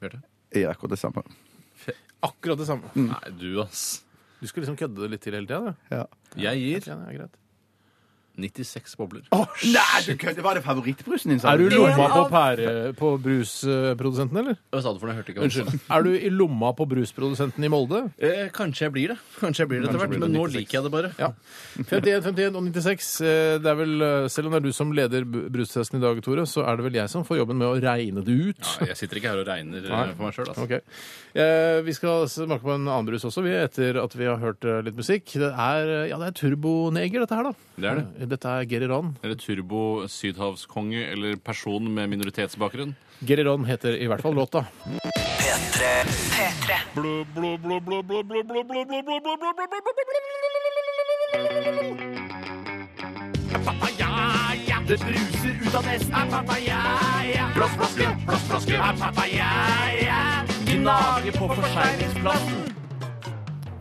Bjarte? Jeg gjør akkurat det samme. Akkurat det samme. Mm. Nei, du, ass. Mm. Du skulle liksom kødde det litt til hele tida, du. Ja. Jeg gir Ja, det er greit. 96 bobler. Nei, du kødder! Var det favorittbrusen din? sa Er du i du? lomma på, pære- på brusprodusenten, eller? Hva sa du for noe? Jeg hørte ikke. hva du sa. Unnskyld. Er du i lomma på brusprodusenten i Molde? Eh, kanskje jeg blir det. Kanskje jeg blir det etter hvert, blir det men nå 96. liker jeg det bare. Ja. 51, 51 og 96. eh, Det er vel, eh, selv om det er du som leder bu- brustesten i dag, Tore, så er det vel jeg som får jobben med å regne det ut. Ja, jeg sitter ikke her og regner eh, Nei. for meg sjøl. Altså. Ok. Eh, Vi skal smake på en annen brus også, vi, etter at vi har hørt eh, litt musikk. Det er, eh, ja, det er Turboneger, dette her, da. Eh, Det er det. Dette er Geri Ron. Eller turbo sydhavskonge eller person med minoritetsbakgrunn. Geri Ron heter i hvert fall låta. P3. Papaya, det bruser ut av nesen. Ah, Papaya, plastflaske, plastflaske. Ah, Papaya, gnager på forseglingsplassen.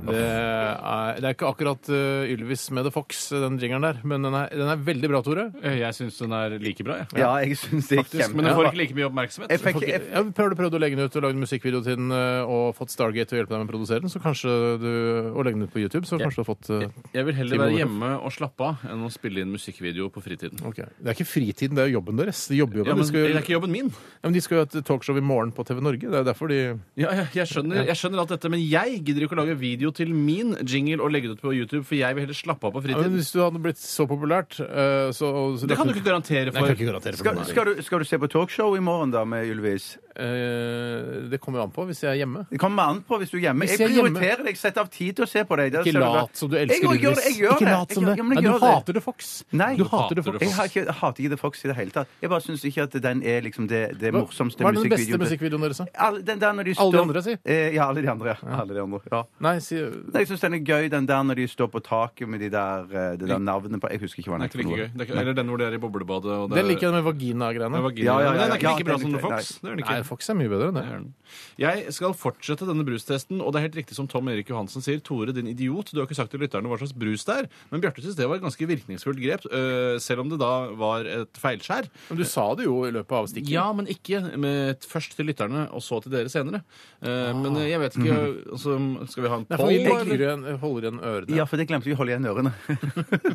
Det er, det er ikke akkurat eh, Ylvis med The Fox, eh, den jingeren der, men den er, den er veldig bra, Tore. Eh, Jeg syns den er like bra, jeg. Ja, jeg syns det er Men den kjempebra. får ikke like mye oppmerksomhet. Jeg fikk, Folk- jeg, Ja, prøv- du prøvde å legge den ut og lage en musikkvideo til den, eh, og fått Stargate til å hjelpe deg med å produsere den, så kanskje du, og legge den ut på YouTube, så kanskje du har fått eh, Jeg vil heller Timor. være hjemme og slappe av enn å spille inn musikkvideo på fritiden. ok. Det er ikke fritiden, det er jo jobben deres. De jobber jo Ja, de men skal, det er jo- ikke jobben min. ja, men de skal jo ha et talkshow i morgen på TV Norge. Det er derfor de Ja, jeg, jeg, skjønner, jeg skjønner alt dette, men jeg gidder ikke å lage video til min jingle og legge det ut på YouTube, for jeg vil heller slappe av på ja, men fritiden. Hvis du hadde blitt så populært, eh, så, så Det kan du ikke garantere Nei, jeg kan for. ikke garantere for skal, det. skal, du, skal du se på talkshow i morgen, da, med Ylvis? Eh, det kommer jo an på hvis jeg er hjemme. Det kommer an på hvis du er hjemme. Hvis Jeg jeg er hjemme- prioriterer deg. Sett av tid til å se på deg. Der ser Ikke du hva- lat som du elsker Jeg gjør det, Ylvis. jeg gjør Ikke det. lat som Jeg gjør- det. ja, men Nei, jeg du gjør det. hater The Fox. Nei. du hater The Hater The Fox. Jeg har ikke, jeg hater ikke The Fox i det hele tatt. Jeg bare syns ikke at den er liksom det, det Hva, morsomste hva er den beste musikkvideoen til- musikkvideoen deres, da? Alle, den der når de Alle de står- andre, si. Eh, ja, alle de andre. Ja. Alle de andre ja. Nei, si Nei, jeg syns den er gøy, den der når de står på taket med de der, eh, det der navnet på Jeg husker ikke hva den Det er ikke like gøy. Det er ikke, eller den hvor det er i boblebadet. Og det Den er, liker jeg med vagina-greiene. med vagina. Ja, ja, ja, Men Den er ikke ja, like den bra liker som The jeg. Fox. Det er den ikke. Nei, Fox er mye bedre enn det. Det er den. Jeg skal fortsette denne brustesten, og det er helt riktig som Tom Erik Johansen sier. Tore, din idiot, du har ikke sagt til lytterne hva slags brus det er. Men Bjarte syns det var et ganske virkningsfullt grep, øh, selv om det da var et feilskjær. Men du sa det jo i løpet av stikket. Ja, men ikke med, først til lytterne, og så til dere senere. Eh, Men jeg vet ikke altså, Skal vi ha en Ah. poll, Nei, for vi da, legger eller? igjen, holder igjen ørene. Ja, for det glemte vi å holde igjen ørene.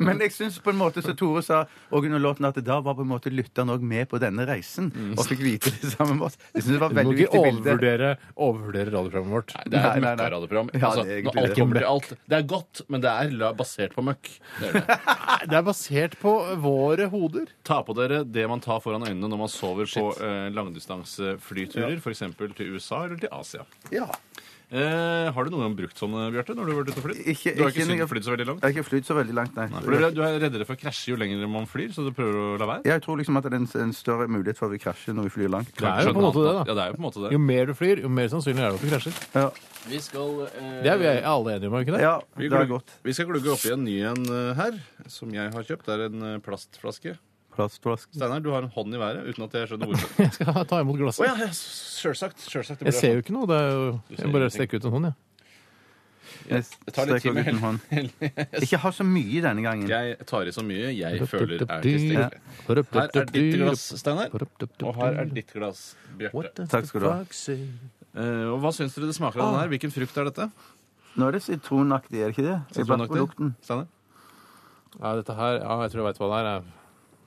Men jeg syns på en måte som Tore sa og under låten, at da var på en måte lytteren òg med på denne reisen og fikk vite det samme med oss. Jeg synes det var et Du må veldig ikke viktig bilde. overvurdere, overvurdere radioprogrammet vårt. Det er et Nei, nei, nei. møkkaradioprogram. Ja, altså, det er egentlig når alt det. kommer til alt. Det er godt, men det er la- basert på møkk. Det er det. Nei, Det er basert på våre hoder. Ta på dere det man tar foran øynene når man sover på eh, langdistanseflyturer, for f.eks. til USA eller til Asia. Ja. Eh, har du noen gang brukt sånne, Bjarte, når du har vært ute og flydd? Ikke- Du har ikke, ikke- syntes flydd så veldig langt? Jeg har ikke flydd så veldig langt, nei. For du er- du er reddere for å krasje jo lenger man flyr, så du prøver å la være? Jeg tror liksom at det er en, en større mulighet for at vi krasjer når vi flyr langt. Det er jo på en måte det, da. Ja, det er jo på en måte det. Jo mer du flyr, jo mer sannsynlig er det at du krasjer. Ja, Vi skal eh, Det er vi alle enige om, er vi ikke det? ja Vi, det er glug- godt. vi skal glugge oppi en ny en eh, her, som jeg har kjøpt. Det er en eh, plastflaske. Plastflaske. Steinar, du har en hånd i været uten at jeg skjønner hvorfor. Jeg skal ta Å imot glasset. ja, ja, sjølsagt. Sjølsagt. Jeg ser jo ikke noe. Det er jo, ser jeg bare ingenting. strekker ut en hånd, jeg. Jeg tar litt tid med Strekker ut en hånd. Ikke ha så mye denne gangen. Jeg tar i så mye jeg føler er tilstrekkelig. Her er ditt glass, Steinar. Og her er ditt glass, Bjarte. Takk skal du ha. Eh, og Hva syns dere det smaker Ah. av den her? Hvilken frukt er dette? Nå er det sitronaktig, er det ikke det? Jeg bare på Sitronaktig? lukten. Steinar? Ja, dette her, ja, jeg tror jeg vet hva det er.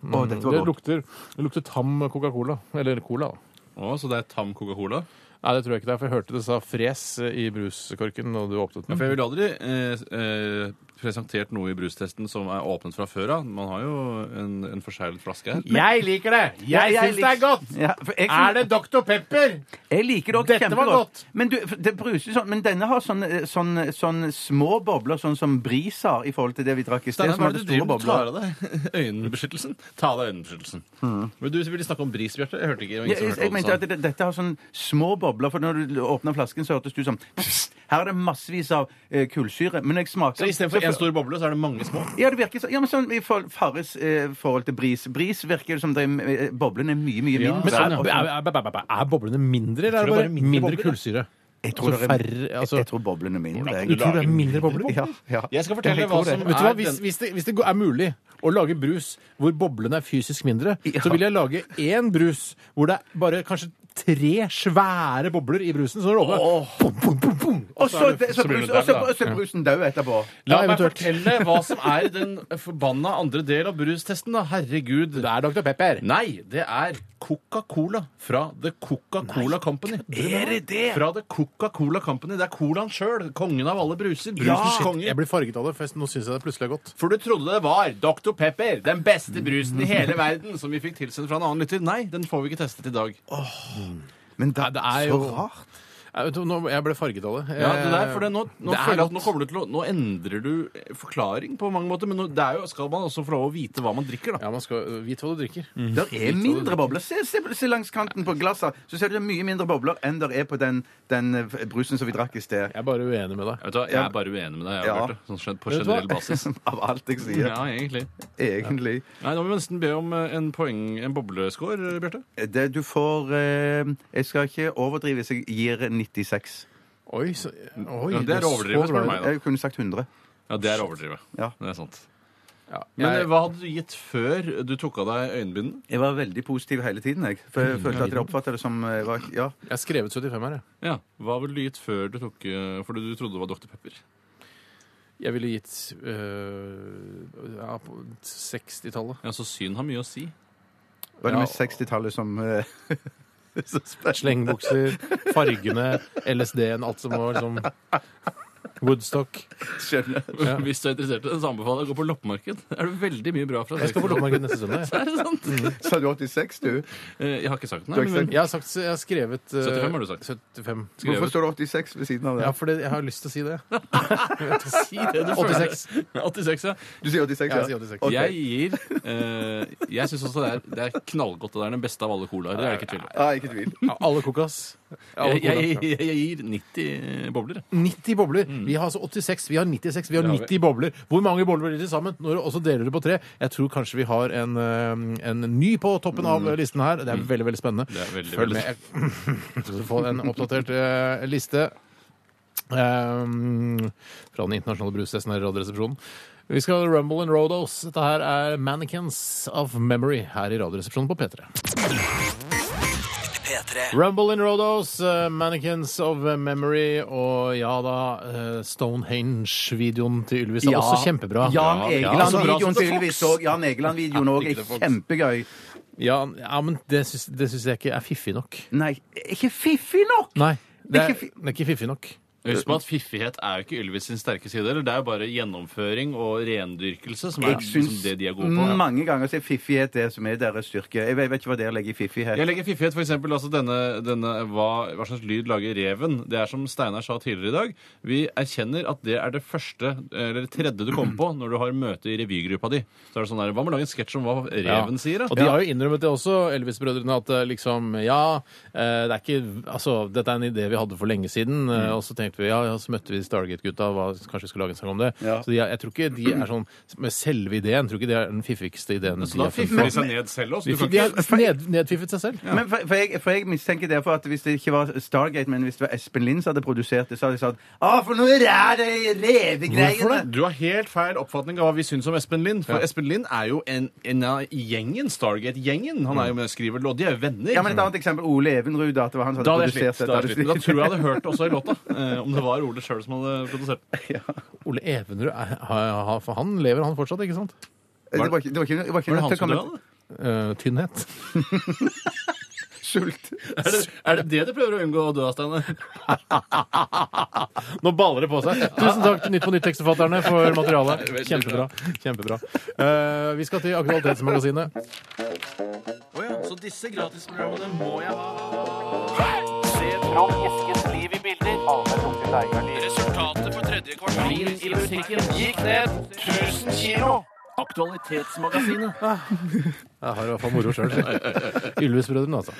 Å, dette Det var godt. lukter, det lukter tam Coca-Cola. Eller cola. da. Å, så det er tam Coca-Cola? Nei, det tror jeg ikke det er, for jeg hørte det sa fres eh, i bruskorken og du åpnet Ja, den. for jeg ville aldri eh, eh, presentert noe i brustesten som er åpent fra før av. Man har jo en, en forseglet flaske her. Jeg liker det! Ja, jeg liker- Ja, for jeg, synes- Dr. Pepper? jeg liker det også Dette var kjempegodt. godt. Men du, for det bruser sånn, men denne har sånne, sånne, sånne små bobler, sånn som Bris har, i forhold til det vi drakk i sted. Steinar, som hva er hadde det du store driver med? Tar bobler. av deg øyenbeskyttelsen? Ta av deg øyenbeskyttelsen. Men du ville snakke om bris, Bjarte. Jeg hørte ikke. det var Mm. Ja, ingen som hørte jeg, hva jeg du mente sa. at det, dette har sånne små bobler, for når du åpner flasken, så hørtes det ut som pst, Her er det massevis av eh, kullsyre. Men når jeg smaker Så istedenfor så- én stor boble, så er det mange små? Ja, det virker sånn. Ja, men sånn i forhold, Farris eh, forhold til bris. Bris virker det som det, er- eh, boblen er mye, mye Ja, mindre. Men Sånn, er, er, er, er, er, er boblene mindre, eller er det tror det er bare bare mindre mindre bobler, kullsyre? jeg, tror altså det er- færre- jeg- altså- jeg tror boblen er mindre. Du Jeg. tror det er mindre bobler? Ja, ja. Jeg skal fortelle Jeg hva tror det. som Vet du hva, er hvis, den- hvis, det, hvis det er mulig å lage brus hvor boblene er fysisk mindre, så vil jeg lage én brus hvor det er bare kanskje tre svære bobler i brusen. Så når det åpner bum, bum, bum, bum. Og så, er det- så, så blir brus- det og så, der, da. og så er brusen død etterpå. La Ja, meg eventuelt. fortelle hva som er den forbanna andre del av brustesten, da. Herregud. Det er Dr. Pepper. Nei, det er Coca-Cola fra The Coca-Cola Company. Er det det? Fra The Coca-Cola Company. Det er colaen sjøl. Kongen av alle bruser. Brusens konge. Jeg blir farget av det, for nå syns jeg det plutselig er godt. For du trodde det var Dr. Pepper, den beste brusen i hele verden, som vi fikk tilsendt fra en annen lytter. Nei, den får vi ikke testet i dag. Men da, det er så jo- rart. Jeg, vet, nå, jeg ble farget av det. Ja, det der, for det, nå, nå, Det er føler jeg at nå, godt. kommer du til å, nå endrer du eh, forklaring på mange måter, men nå, det er jo, skal man også få lov å vite hva man drikker, da. Ja, man skal vite hva du drikker. Mm. Der er mindre bobler. Se, se, se langs kanten på glasset, så ser du det er mye mindre bobler enn der er på den, den eh, brusen som vi drakk i sted. Jeg er bare uenig med deg. Vet du hva, Jeg er bare uenig med deg, jeg, Ja. Bjarte. Sånn skjedd- på Vet du hva? generell basis. Av alt jeg sier, Ja, egentlig. egentlig. Nei, Nå må vi nesten be om eh, en poeng, en boblescore, eh, Bjarte. Det du får eh, Jeg skal ikke overdrive hvis jeg gir 96. Oi, så, oi Ja, det er så overdrivet, spør bra. du meg. da. Jeg kunne sagt 100. Ja, det er overdrivet. Ja. Det er sant. Ja. Men Jeg- eh, hva hadde du gitt før du tok av deg øyenbindene? Jeg var veldig positiv hele tiden. Jeg, for Mm. jeg følte at jeg oppfattet det som eh, var, ja. Jeg har skrevet 75 her, jeg. Ja, Hva ville du gitt før du tok eh, Fordi du trodde det var Dr. Pepper? Jeg ville gitt øh, ja, på 60-tallet. Ja, Så syn har mye å si. Var det Ja. med 60-tallet som eh, som spør- Slengbukser, fargene, LSD-en, alt som var liksom Woodstock. skjønner? Ja. Hvis du er interessert i det, så anbefaler jeg å gå på loppemarked. Det er det veldig mye bra fra Jeg skal på loppemarked neste søndag. jeg. Er det sant? Sa du 86, du? Eh, Jeg har ikke sagt Mhm. Du det. har ikke Men, Jeg har, sagt, jeg har skrevet øh, 75 har du sagt. 75. Hvorfor Skrevet. står det 86 ved siden av Ja, det? for det, jeg har lyst til å si det. Jeg vet ikke. si det du 86. føler. 86, ja. Du sier 86, Ja, ja? jeg sier 86. Ok. Jeg gir eh, Jeg syns også det er, det er knallgodt. og Det er den beste av alle colaer. Det er det ikke tvil om. Ja, ikke tvil. Ja, alle kokas. Alle Jeg, jeg, kokas. jeg, jeg gir 90 bobler. jeg. 90 bobler. Vi har altså 86, vi har 96, vi har Mm. Det har vi. 90 bobler. Hvor mange bobler blir det til sammen? Når du også deler det på tre. Jeg tror kanskje vi har en, eh, en ny på toppen av uh, listen her. Det er veldig, veldig spennende. Mm. Det er veldig, Følg veldig med. Jeg skal få en oppdatert eh, liste eh, fra den internasjonale brustesten her i Radioresepsjonen. Vi skal Rumble and Rodos. Dette her er Mannequins of Memory her i Radioresepsjonen på P3. Rumble in Rodos, eh, Mannequins of Memory og ja da, eh, Stonehenge-videoen til Ylvis er også kjempebra. altså, Jan altså bra som Egeland-videoen The til Ylvis òg. Jan Egeland-videoen òg er kjempegøy. Ja, ja men det syns, det syns jeg ikke er fiffig nok. Nei, ikke fiffig nok! Nei, det er, Ikke fi- det er ikke fiffig nok. Husk på at fiffighet er jo ikke Ylvis sin sterke side. Eller? Det er jo bare gjennomføring og rendyrkelse som er Jeg syns som liksom det de er gode på. mange ganger så er fiffighet det som er deres styrke. Jeg vet, jeg vet ikke hva dere legger i fiffighet. Jeg legger fiffighet, for eksempel, altså denne, denne hva, hva slags lyd lager reven? Det er som Steinar sa tidligere i dag, vi erkjenner at det er det første, eller det tredje du kommer på når du har møte i revygruppa di. Så er det sånn der, hva med å lage en sketsj om hva reven sier, Og da? de har jo innrømmet det også, Elvis-brødrene, at eh, liksom Ja, eh, det er ikke Altså, dette er en idé vi hadde for lenge siden, eh, og så tenkte vi ja, ja, så møtte vi Stargate-gutta, hva- kanskje vi skulle lage en sang om det. Så de, er- jeg tror ikke de er sånn Med selve ideen, jeg tror ikke det er den fiffigste ideen. Så da har funnet fiffer på. de seg ned selv også. De, Du kan de ikke... har ned, nedfiffet seg selv. Men for, for, jeg, for jeg mistenker derfor at hvis det ikke var Stargate, men hvis det var Espen Lind som hadde produsert det, så hadde jeg sagt Å, for noe ræl det er revegreiene! Du har helt feil oppfatning av hva vi syns om Espen Lind. For Espen Lind er jo en, en av gjengen, Stargate-gjengen. Han er jo med og skriver låt. De er jo venner. Ja, men Et annet eksempel Ole Evenrud. Da, at det var han som Da hadde hadde jeg produsert slitt. det. Da, hadde jeg slitt. Men da tror jeg jeg hadde hørt det også i låta. Eh, om det var Ole sjøl som hadde produsert. Ole Evenrud, er- har- har- for han lever han fortsatt, ikke sant? Det var ikke, det var ikke, det var ikke Var det nødt han til å som komme døde? da? Eh, tynnhet. sult. Er det, er det det du prøver å unngå å dø av, Steinar? Nå baller det på seg. Tusen takk til Nytt på Nytt-tekstforfatterne for materialet. Kjempebra. Kjempebra. Eh, vi skal til Aktualitetsmagasinet. Så disse gratisprogrammene må jeg ha. Ah. Jeg har i hvert fall moro sjøl. Ylvis-brødrene, altså.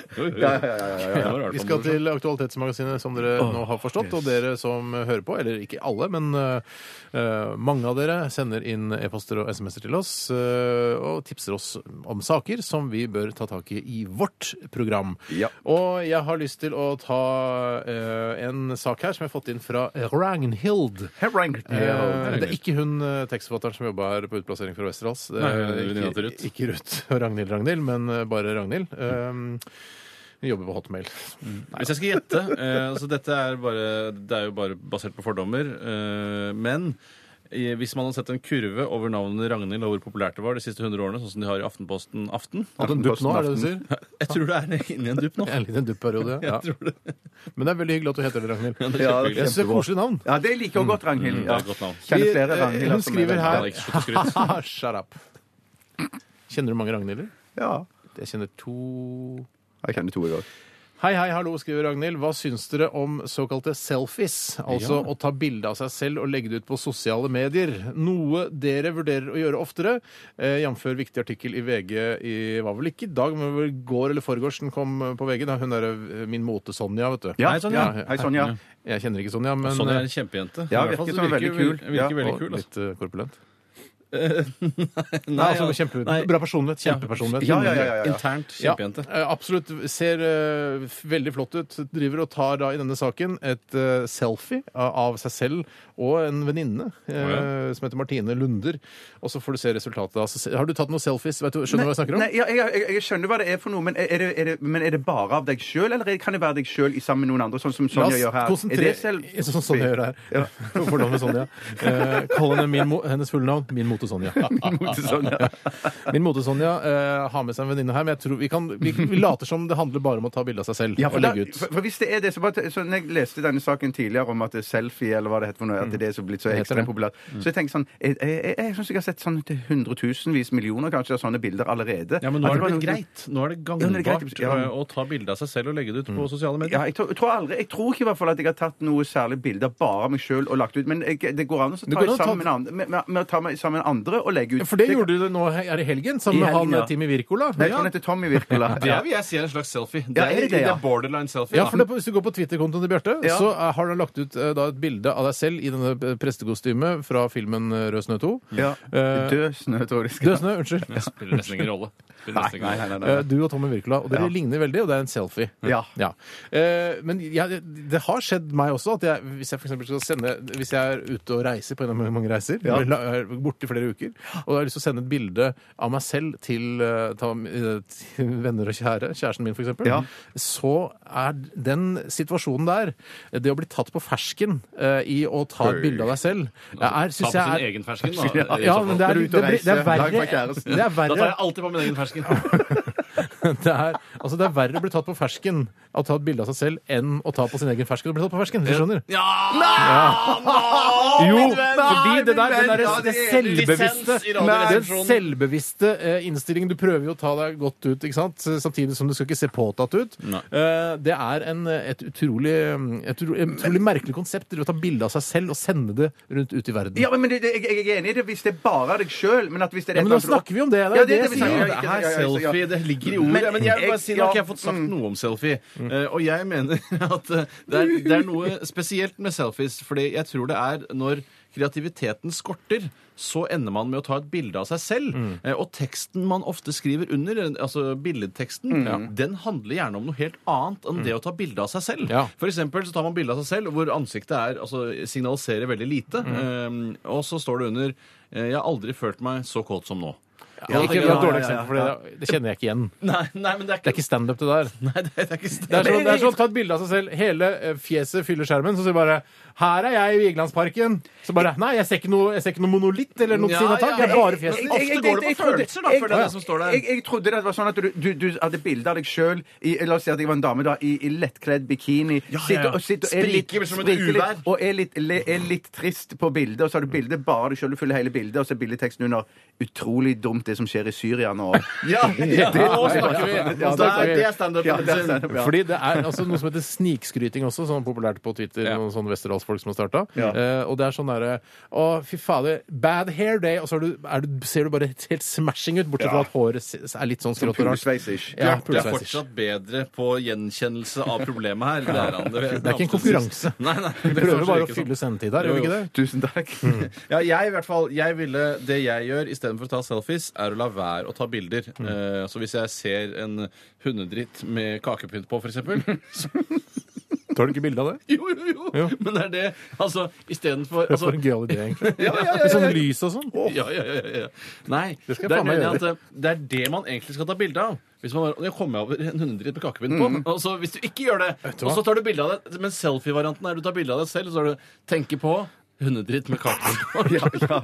Vi skal sånn. til Aktualitetsmagasinet, som dere nå har forstått. Og dere som hører på, eller ikke alle, men eh, eh, mange av dere sender inn e-poster og SMS-er til oss eh, og tipser oss om saker som vi bør ta tak i i vårt program. Ja. Og jeg har lyst til å ta eh, en sak her som jeg har fått inn fra Ragnhild. Eh, det er ikke hun eh, tekstforfatteren som jobba her på utplassering fra Westerdals. Det er Nei, venninna til Ruth. ikke, ikke Ruth og Ragnhild Ragnhild, men eh, bare Ragnhild. Um, hun jobber på hotmail. Hvis jeg skal gjette eh, altså Dette er, bare, det er jo bare basert på fordommer. Eh, men i, hvis man hadde sett en kurve over navnet Ragnhild og hvor populært det var de siste 100 årene, sånn som de har i Aftenposten Aften Hadde en dupp nå, er det det du sier? Jeg tror det er inni en dupp nå. En liten dupp-periode. Ja. Jeg tror det. Men det er veldig hyggelig at du heter det, Ragnhild. det er Ja, kjempehyggelig. Jeg synes det er et koselig navn. Ja, det liker jeg godt, Ragnhild. Mm, det Ja. er et godt navn. Kjenner Vi- flere eh, Ragnhild. altså. hun skriver her- Ja, Ah, det er ikke slutt å skryte. Shut up. Kjenner du mange Ragnhilder? Ja, Jeg kjenner to jeg kjenner to i går. Hei, hei, hallo, skriver Ragnhild. Hva syns dere om såkalte selfies? Altså å ta bilde av seg selv og legge det ut på sosiale medier. Noe dere vurderer å gjøre oftere, eh, jf. viktig artikkel i VG i var vel ikke i dag, men vel i går eller forgårs den kom på VG. Da hun derre eh, min mote-Sonja, vet du. Ja. Hei, Sonja. Hei, Sonja. Jeg kjenner ikke Sonja, men Sånn er eh, en kjempejente. Ja, I hvert fall virker så som veldig kul. Virker, virker Ja, veldig og kul, altså. litt eh, korpulent. Nei, Nei, altså, altså, kjempe, nei. bra personlighet. Kjempepersonlighet. Ja, ja, ja, ja, ja. Internt kjempejente. Ja, eh, absolutt. Ser eh, f- veldig flott ut. Driver og tar da i denne saken et eh, selfie av av seg selv og en venninne eh, Å, som heter Martine Lunder. Og så får du se resultatet. da. Så se- Har du tatt noen selfies? Vet du, skjønner du hva jeg snakker om? Nei, ja, jeg, jeg, jeg skjønner hva det er for noe, men er det, er det, men er det bare av deg sjøl, eller er- kan det være deg sjøl sammen med noen andre, sånn som La Sonja oss gjør her? konsentrere- Er det selv... Ja, Sånn som jeg gjør her. Ja. Fordomme Sonja. Eh, Kall henne min, mo- hennes fulle navn. Min mote Sonja. Mot Sonja. Min mote Sonja eh, har med seg en venninne her, men jeg tror vi, kan, vi, vi later som det handler bare om å ta bilde av seg selv Ja, for, og da, legge ut. for, for hvis det er det, så bare så når Jeg leste denne saken tidligere om at det er selfie eller hva det heter for noe, at det er det som er blitt så heter ekstremt Mm. det. Mm. populært. Så jeg tenker sånn Jeg, jeg, jeg, jeg syns jeg har sett sånn til hundretusenvis millioner kanskje av sånne bilder allerede. Ja, men nå At er det bare- blitt greit. Nå er det Ja, nå er det greit. gangbart Ja. å- å ta bilde av seg selv og legge det ut på sosiale medier. Ja, jeg, tror, jeg tror aldri Jeg tror ikke i hvert fall at jeg har tatt noe særlig bilder bare av meg sjøl og lagt ut, men jeg, det går an å ta går an å ta- sammen med, andre, med, med, med å ta meg sammen med andre og legge ut. For det gjorde du nå her i helgen, I sammen med helgen, han eh, ja. Timmy Wirkola. Nei, jeg tror han heter Tommy Wirkola. Det er, vil jeg si er en slags selfie. Det Ja, er, er det det, det ja? er borderline selfie. Ja, da. for det, Hvis du går på Twitter-kontoen til Bjarte, Ja. så eh, har han lagt ut eh, da, et bilde av deg selv i denne eh, prestekostymet fra filmen eh, Rød snø 2. Ja. Eh, Død snø, tror jeg det Død skal snø, unnskyld. Det spiller nesten ingen rolle. Det spiller nesten ingen Nei, rolle. nei, nei, nei. Eh, Du og Tommy Wirkola. Og dere Ja. ligner veldig, og det er en selfie. Ja. Eh, Men jeg, det har skjedd meg også at jeg, hvis jeg for eksempel skal sende Hvis jeg er ute og reiser på en av mine mange reiser, Ja. eller er borte i flere uker, og jeg har lyst til å sende et bilde av meg selv til, eh, ta, eh, til venner og kjære, kjæresten min f.eks., eksempel, Ja. så er den situasjonen der, det å bli tatt på fersken eh, i å ta et bilde av deg selv, jeg er, Ta på synes jeg sin er egen fersken, da. i ja, så fall. men det Når er, du er det, ute og blir- det er reiser, lag med verre, kjæresten. det er Da tar verre jeg alltid på min egen fersken. Det er, altså det er verre å bli tatt på fersken å ta et bilde av seg selv enn å ta på sin egen fersken og bli tatt på fersken. hvis Du skjønner? Ja! Jo, min venn! fordi det der, min venn! den der Ja, det det er selvbevisste dissens i Nei, Den Radioresepsjonen. selvbevisste eh, innstillingen Du prøver jo å ta deg godt ut, ikke sant? Samtidig som du skal ikke se påtatt ut. Nei. Eh, Det er en, et utrolig, et utrolig, et utrolig merkelig konsept det å ta bilde av seg selv og sende det rundt ut i verden. Ja, men det, det, jeg, jeg er enig i det hvis det bare er deg sjøl. Men at hvis det er Ja, men nå snakker vi om det. Det er Ja, det det jeg vi sier. snakker om. Ja, det er selfie. Det ligger i ordet. Men Men, jeg vil jeg- bare si, nå har ikke jeg ja, fått sagt noe om selfie. Eh, og jeg mener at eh, det er, det er noe spesielt med selfies, fordi jeg tror det er når kreativiteten skorter, så ender man med å ta et bilde av seg selv. Eh, og teksten man ofte skriver under, altså billedteksten, den handler gjerne om noe helt annet enn det å ta bilde av seg selv. Ja. For eksempel så tar man bilde av seg selv hvor ansiktet er, altså, signaliserer veldig lite, eh, og så står det under eh, 'Jeg har aldri følt meg så kåt som nå'. Ja, ikke, Ja, det er et ja, ja, dårlig eksempel, for det, det kjenner jeg ikke igjen. Nei, nei, men det er Det er ikke standup, det der. Nei, det er ikke Det er, sånn, det er sånn- sånn, Ta et bilde av seg selv. Hele eh, fjeset fyller skjermen. Så sier bare 'Her er jeg i Vigelandsparken'. Så bare 'Nei, jeg ser ikke noe, jeg ser ikke noe monolitt eller noe Ja, sinatak. Det er ja, bare men fjeset. Ofte går det på følelser, da, for det er det som står der. Jeg, jeg trodde det var sånn at du, du, du hadde bilde av deg sjøl La oss si at jeg var en dame da, i, i lettkledd bikini. Sitter, og, sitter, og er litt, Spriker som et spriker litt, uvær. Og er litt, le, er litt trist på bildet, og så har du bildet bare deg sjøl. Du fyller hele bildet, og så er bildeteksten under 'Utrolig dumt det som skjer i Syria nå'. Ja, ja, nå snakker vi! Ja, Altså, da det snakker er- vi. det er standup. Ja, det er standup, ja. Fordi det er altså noe som heter snikskryting også, sånn populært på Twitter. Ja. Noen sånne Westerdalsfolk som har starta. Ja. Eh, og det er sånn derre Å, fy fader. Bad hair day. Og så er du, er du, ser du bare helt smashing ut, bortsett fra at håret se- er litt sånn skrått og rart. Pulesveis-ish. Ja, det er pulesveis. fortsatt bedre på gjenkjennelse av problemet her. Det er, han, det, Det er ikke en konkurranse. Nei, nei, Vi prøver bare å sånn. fylle sendetid her, gjør vi ikke det? Tusen takk. Ja, jeg i hvert fall, jeg ville, Det jeg gjør istedenfor å ta selfies, er å la være å ta bilder. Mm. Eh, så hvis jeg ser en hundedritt med kakepynt på, f.eks. Tar du ikke bilde av det? Jo, jo, jo, Jo. Men det er det. Altså, istedenfor Det er altså, for en gøyal idé, egentlig. ja, ja, ja, ja, Med sånn ja. lys og sånn. Ja, ja, ja, ja, ja. Nei, det, skal jeg er faen meg det, at, eh, det er det man egentlig skal ta bilde av. Hvis man bare, jeg kommer over en hundedritt med kakepinn på. Og så Hvis du ikke gjør det, Mm. du og hva? så tar du bilde av det Men selfie-varianten er du tar bilde av deg selv, så er du 'tenker på hundedritt med kakepinn på'.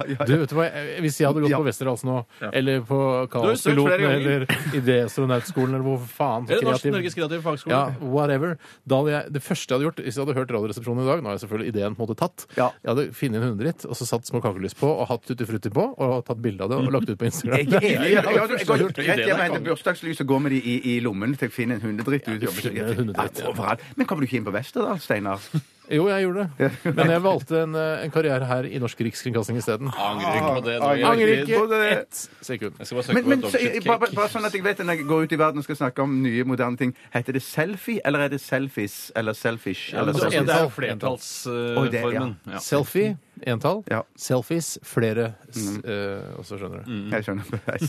Ja, ja, Du, vet du hva, jeg- Hvis jeg hadde gått Ja. på Westerdals nå, eller på har jo søkt flere Kaospiloten ganger. eller Idéastronautskolen eller hvor faen så Eller Norsk, kreativ- Norges kreative fagskole. Ja, whatever. Da hadde jeg, det første jeg hadde gjort, hvis jeg hadde hørt Radioresepsjonen i dag Nå har jeg selvfølgelig ideen på en måte tatt. Ja. Jeg hadde funnet en hundedritt og så satt små kakelys på og hatt tutti frutti på og tatt bilde av det og lagt ut på Instagram. Jeg er enig. Jeg har rett Ideen er hjem og henter konge. bursdagslys og går med de i, i lommen til jeg finner en hundedritt. Du jobber finner sikkert- en hundedritt, Ja, ja. overalt. Men kommer du ikke inn på Westerdal, Steinar? Jo, jeg gjorde det. Men jeg valgte en, eh, en karriere her i Norsk Rikskringkasting isteden. Angrer ikke på det. nå. Jeg- Angrer På ikke det. ett sekund. Jeg skal bare søke Men, men på så, jeg, bare, bare sånn at jeg vet når jeg går ut i verden og skal snakke om nye, moderne ting, heter det selfie, eller er det selfies, eller selfish? Eller så Det er er selfies? det- jo Oi, det, ja. flertallsformen. Ja. Selfie, entall. Ja. Selfies, flere. s- eh, og så skjønner du. Jeg skjønner.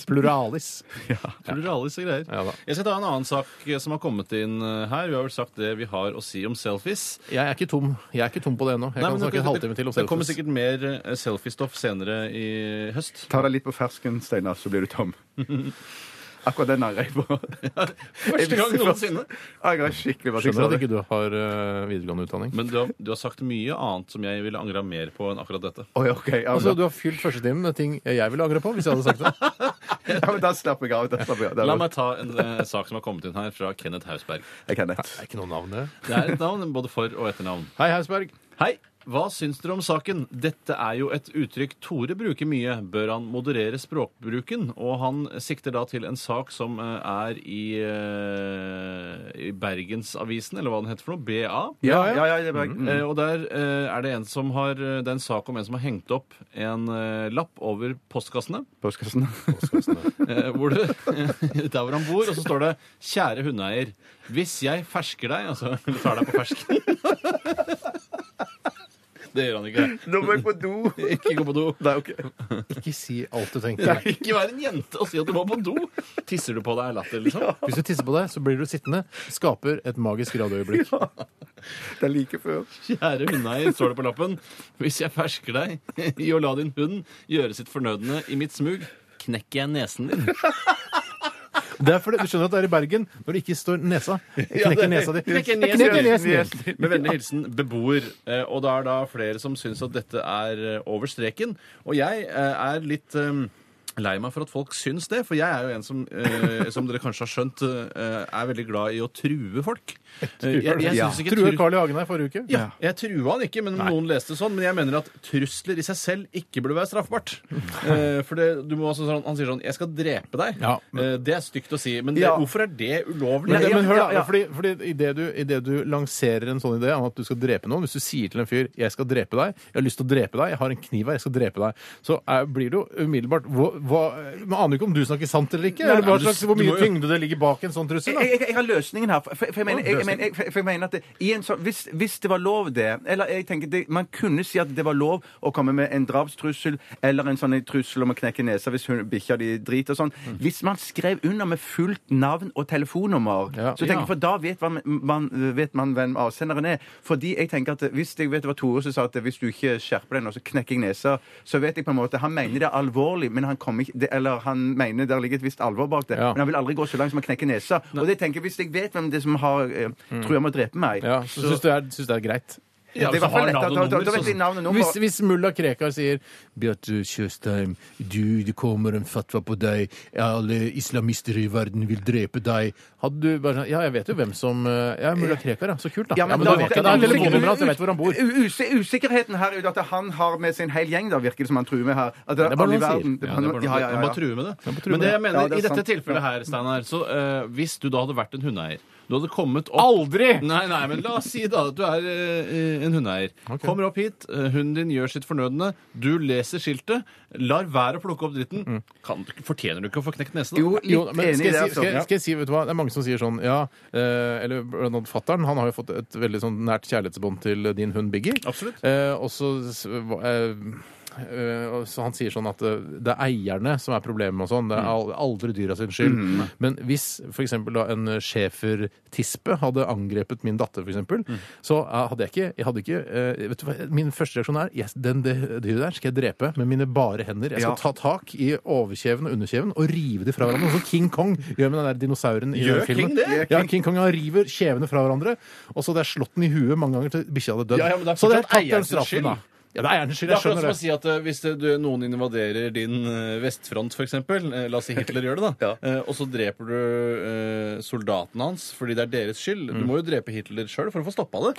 Pluralis. Pluralis og greier. Ja da. jeg skal ta en annen sak som har kommet inn eh, her. Vi har vel sagt det vi har å si om selfies. Jeg er ikke tom Jeg er ikke tom på det ennå. Jeg Nei, kan men snakke det- en halvtime til om Det kommer selfies. sikkert mer eh, selfie-stoff senere i høst. Ta deg litt på fersken, Steinar, så blir du tom. Akkurat den angrer jeg på. Første gang noensinne. Angrer skikkelig på at jeg sa Skjønner at det. ikke du har eh, videregående utdanning. Men du har, du har sagt mye annet som jeg ville angra mer på enn akkurat dette. Oi, ok. Ja, Altså, men Du har fylt førstetimen med ting jeg ville angre på hvis jeg hadde sagt det. da- ja, men da slapper jeg av. Da slapper jeg av. La Da- meg ta en eh, sak som har kommet inn her fra Kenneth Hausberg. Jeg kan det. Det er ikke noe navn, det. Det er et navn, både for- og etternavn. Hei, Hausberg. Hei! Hva syns dere om saken? Dette er jo et uttrykk Tore bruker mye. Bør han moderere språkbruken? Og han sikter da til en sak som eh, er i, eh, i Bergensavisen, eller hva den heter for noe, BA. Ja, ja, Mm. ja. det er bare- Eh, og der eh, er det en som har eh, Det er en sak om en som har hengt opp en eh, lapp over postkassene. Postkassen. eh, hvor det, der hvor han bor, og så står det 'Kjære hundeeier, hvis jeg fersker deg' Altså eller tar deg på fersken. Det gjør han ikke. Nå må jeg på do. Ikke gå på do. Nei, ok. Ikke si alt du tenker. Ikke vær en jente og si at du må på do. Tisser du på deg er latter, liksom? Hvis du tisser på deg, så blir du sittende. Skaper et magisk radioøyeblikk. Det er like før. Kjære hundeeier, står det på lappen. Hvis jeg fersker deg i å la din hund gjøre sitt fornødne i mitt smug, knekker jeg nesen din. Det er fordi Du skjønner at det er i Bergen når det ikke står nesa. Jeg det er- Knekker nesa di. Knekker Jeg Knekker nesen. nesen din. Med vennlig hilsen beboer. Eh, Og det er da flere som syns at dette er eh, over streken. Og jeg eh, er litt eh, lei meg for at folk syns det, for jeg er jo en som, eh, som dere kanskje har skjønt, eh, er veldig glad i å true folk. Eh, jeg, jeg Ja. synes ikke True tru- Carl I. Hagen her forrige uke. ja, jeg trua han ikke, men noen leste det sånn. Men jeg mener at trusler i seg selv ikke burde være straffbart. Eh, for det, du må altså sånn, Han sier sånn 'Jeg skal drepe deg'. Ja, men- Eh, det er stygt å si. Men det, Ja. hvorfor er det ulovlig? Men, Det- men hør da, ja, ja. fordi, fordi i, det du, i det du lanserer en sånn idé om at du skal drepe noen Hvis du sier til en fyr 'jeg skal drepe deg', 'jeg har lyst til å drepe deg', 'jeg har en kniv her, jeg skal drepe deg', så er, blir det jo umiddelbart hva, hva, Man aner jo ikke om du snakker sant eller ikke. eller men hva du- slags, du Hvor mye må jo- tyngde det ligger bak en sånn trussel. Jeg, da. jeg, jeg har løsningen her. For, for, for, jeg, mener, jeg, jeg, mener, jeg, for jeg mener at det, i en sånn, hvis, hvis det var lov, det Eller jeg tenker det, Man kunne si at det var lov å komme med en drapstrussel eller en sånn en trussel om å knekke nesa hvis hun- bikkja di driter og sånn. Hvis man skrev under med fullt navn og telefonnummer, Ja. så tenker Ja. jeg, for da vet man, man, vet man hvem avsenderen er. Fordi jeg tenker at Hvis jeg vet det var Tore som sa at hvis du ikke skjerper deg nå, så knekker jeg nesa, så vet jeg på en måte Han mener det er alvorlig, men han kommer ikke det, Eller han mener der ligger et visst alvor bak det. Ja. Men han vil aldri gå så langt som å knekke nesa. Og det tenker jeg, Hvis jeg vet hvem det er som har eh, tror jeg må drepe meg Mm. Ja, så syns du det er, synes det er greit. Ja, det er i hvis hvert fall du har lett navn at- da, og da, nummer, da vet så- jeg navn og nummer. Hvis, hvis mulla Krekar sier 'Bjarte Tjøstheim, du, det kommer en fatwa på deg. Alle islamister i verden vil drepe deg.' Hadde du bare sånn Ja, jeg vet jo hvem som eh, Ja, mulla Krekar, ja. Så kult, da. Ja, men da vet jeg det. er telefonnummeret hans, Jeg vet hvor han bor. U- us- Usikkerheten her er jo at han har med sin hel gjeng, da, virker det som han truer med her. At det er bare alle i noe han verden- sier. det er Ja, det er bare- bare, ja, ja, ja, Han bare ja. truer med det. bare truer men det med det. jeg mener, Ja, det er i dette sant. tilfellet her, Steinar, så eh, hvis du da hadde vært en hundeeier du hadde kommet opp Aldri! Nei, nei, men la oss si da at du er eh, en hundeeier. Kommer opp hit, eh, hunden din gjør sitt fornødne, du leser skiltet, lar være å plukke opp dritten. Kan, fortjener du ikke å få knekt nesen? da? Mm. Jo, Jo, litt men enig i skal det. jeg, si, altså. skal, jeg, skal jeg si, vet du hva, det er mange som sier sånn, ja, eh, eller blant fatteren, han har jo fått et veldig sånn nært kjærlighetsbånd til din hund Biggie. Absolutt. Eh, og så, s- hva- eh, eh, og så han sier sånn at eh, det er eierne som er problemet og sånn, Mm. det er al- aldri dyra sin skyld. Men hvis for eksempel da en schæfertispe hadde angrepet min datter for eksempel, Mm. så eh, hadde jeg ikke, jeg hadde ikke, eh, vet du hva, min første reaksjon er, yes, den det dyret der skal jeg drepe med mine bare hender. Jeg skal Ja. ta tak i overkjeven og underkjeven og rive de fra hverandre. Sånn som King Kong gjør med den der dinosauren i Gjør den King filmen. det? Ja, King Kong han river kjevene fra hverandre, og så hadde jeg slått den i huet mange ganger til bikkja hadde dødd. Ja, ja, men det er så hadde jeg fortsatt tatt den eierens skyld. straffen, da. Ja, det er eierens skyld, Det er jeg akkurat skjønner som å det. si at eh, Hvis det, du, noen invaderer din eh, vestfront, f.eks. La oss si Hitler gjør det, da. eh, og så dreper du eh, soldaten hans fordi det er deres skyld. Mm. Du må jo drepe Hitler sjøl for å få stoppa det.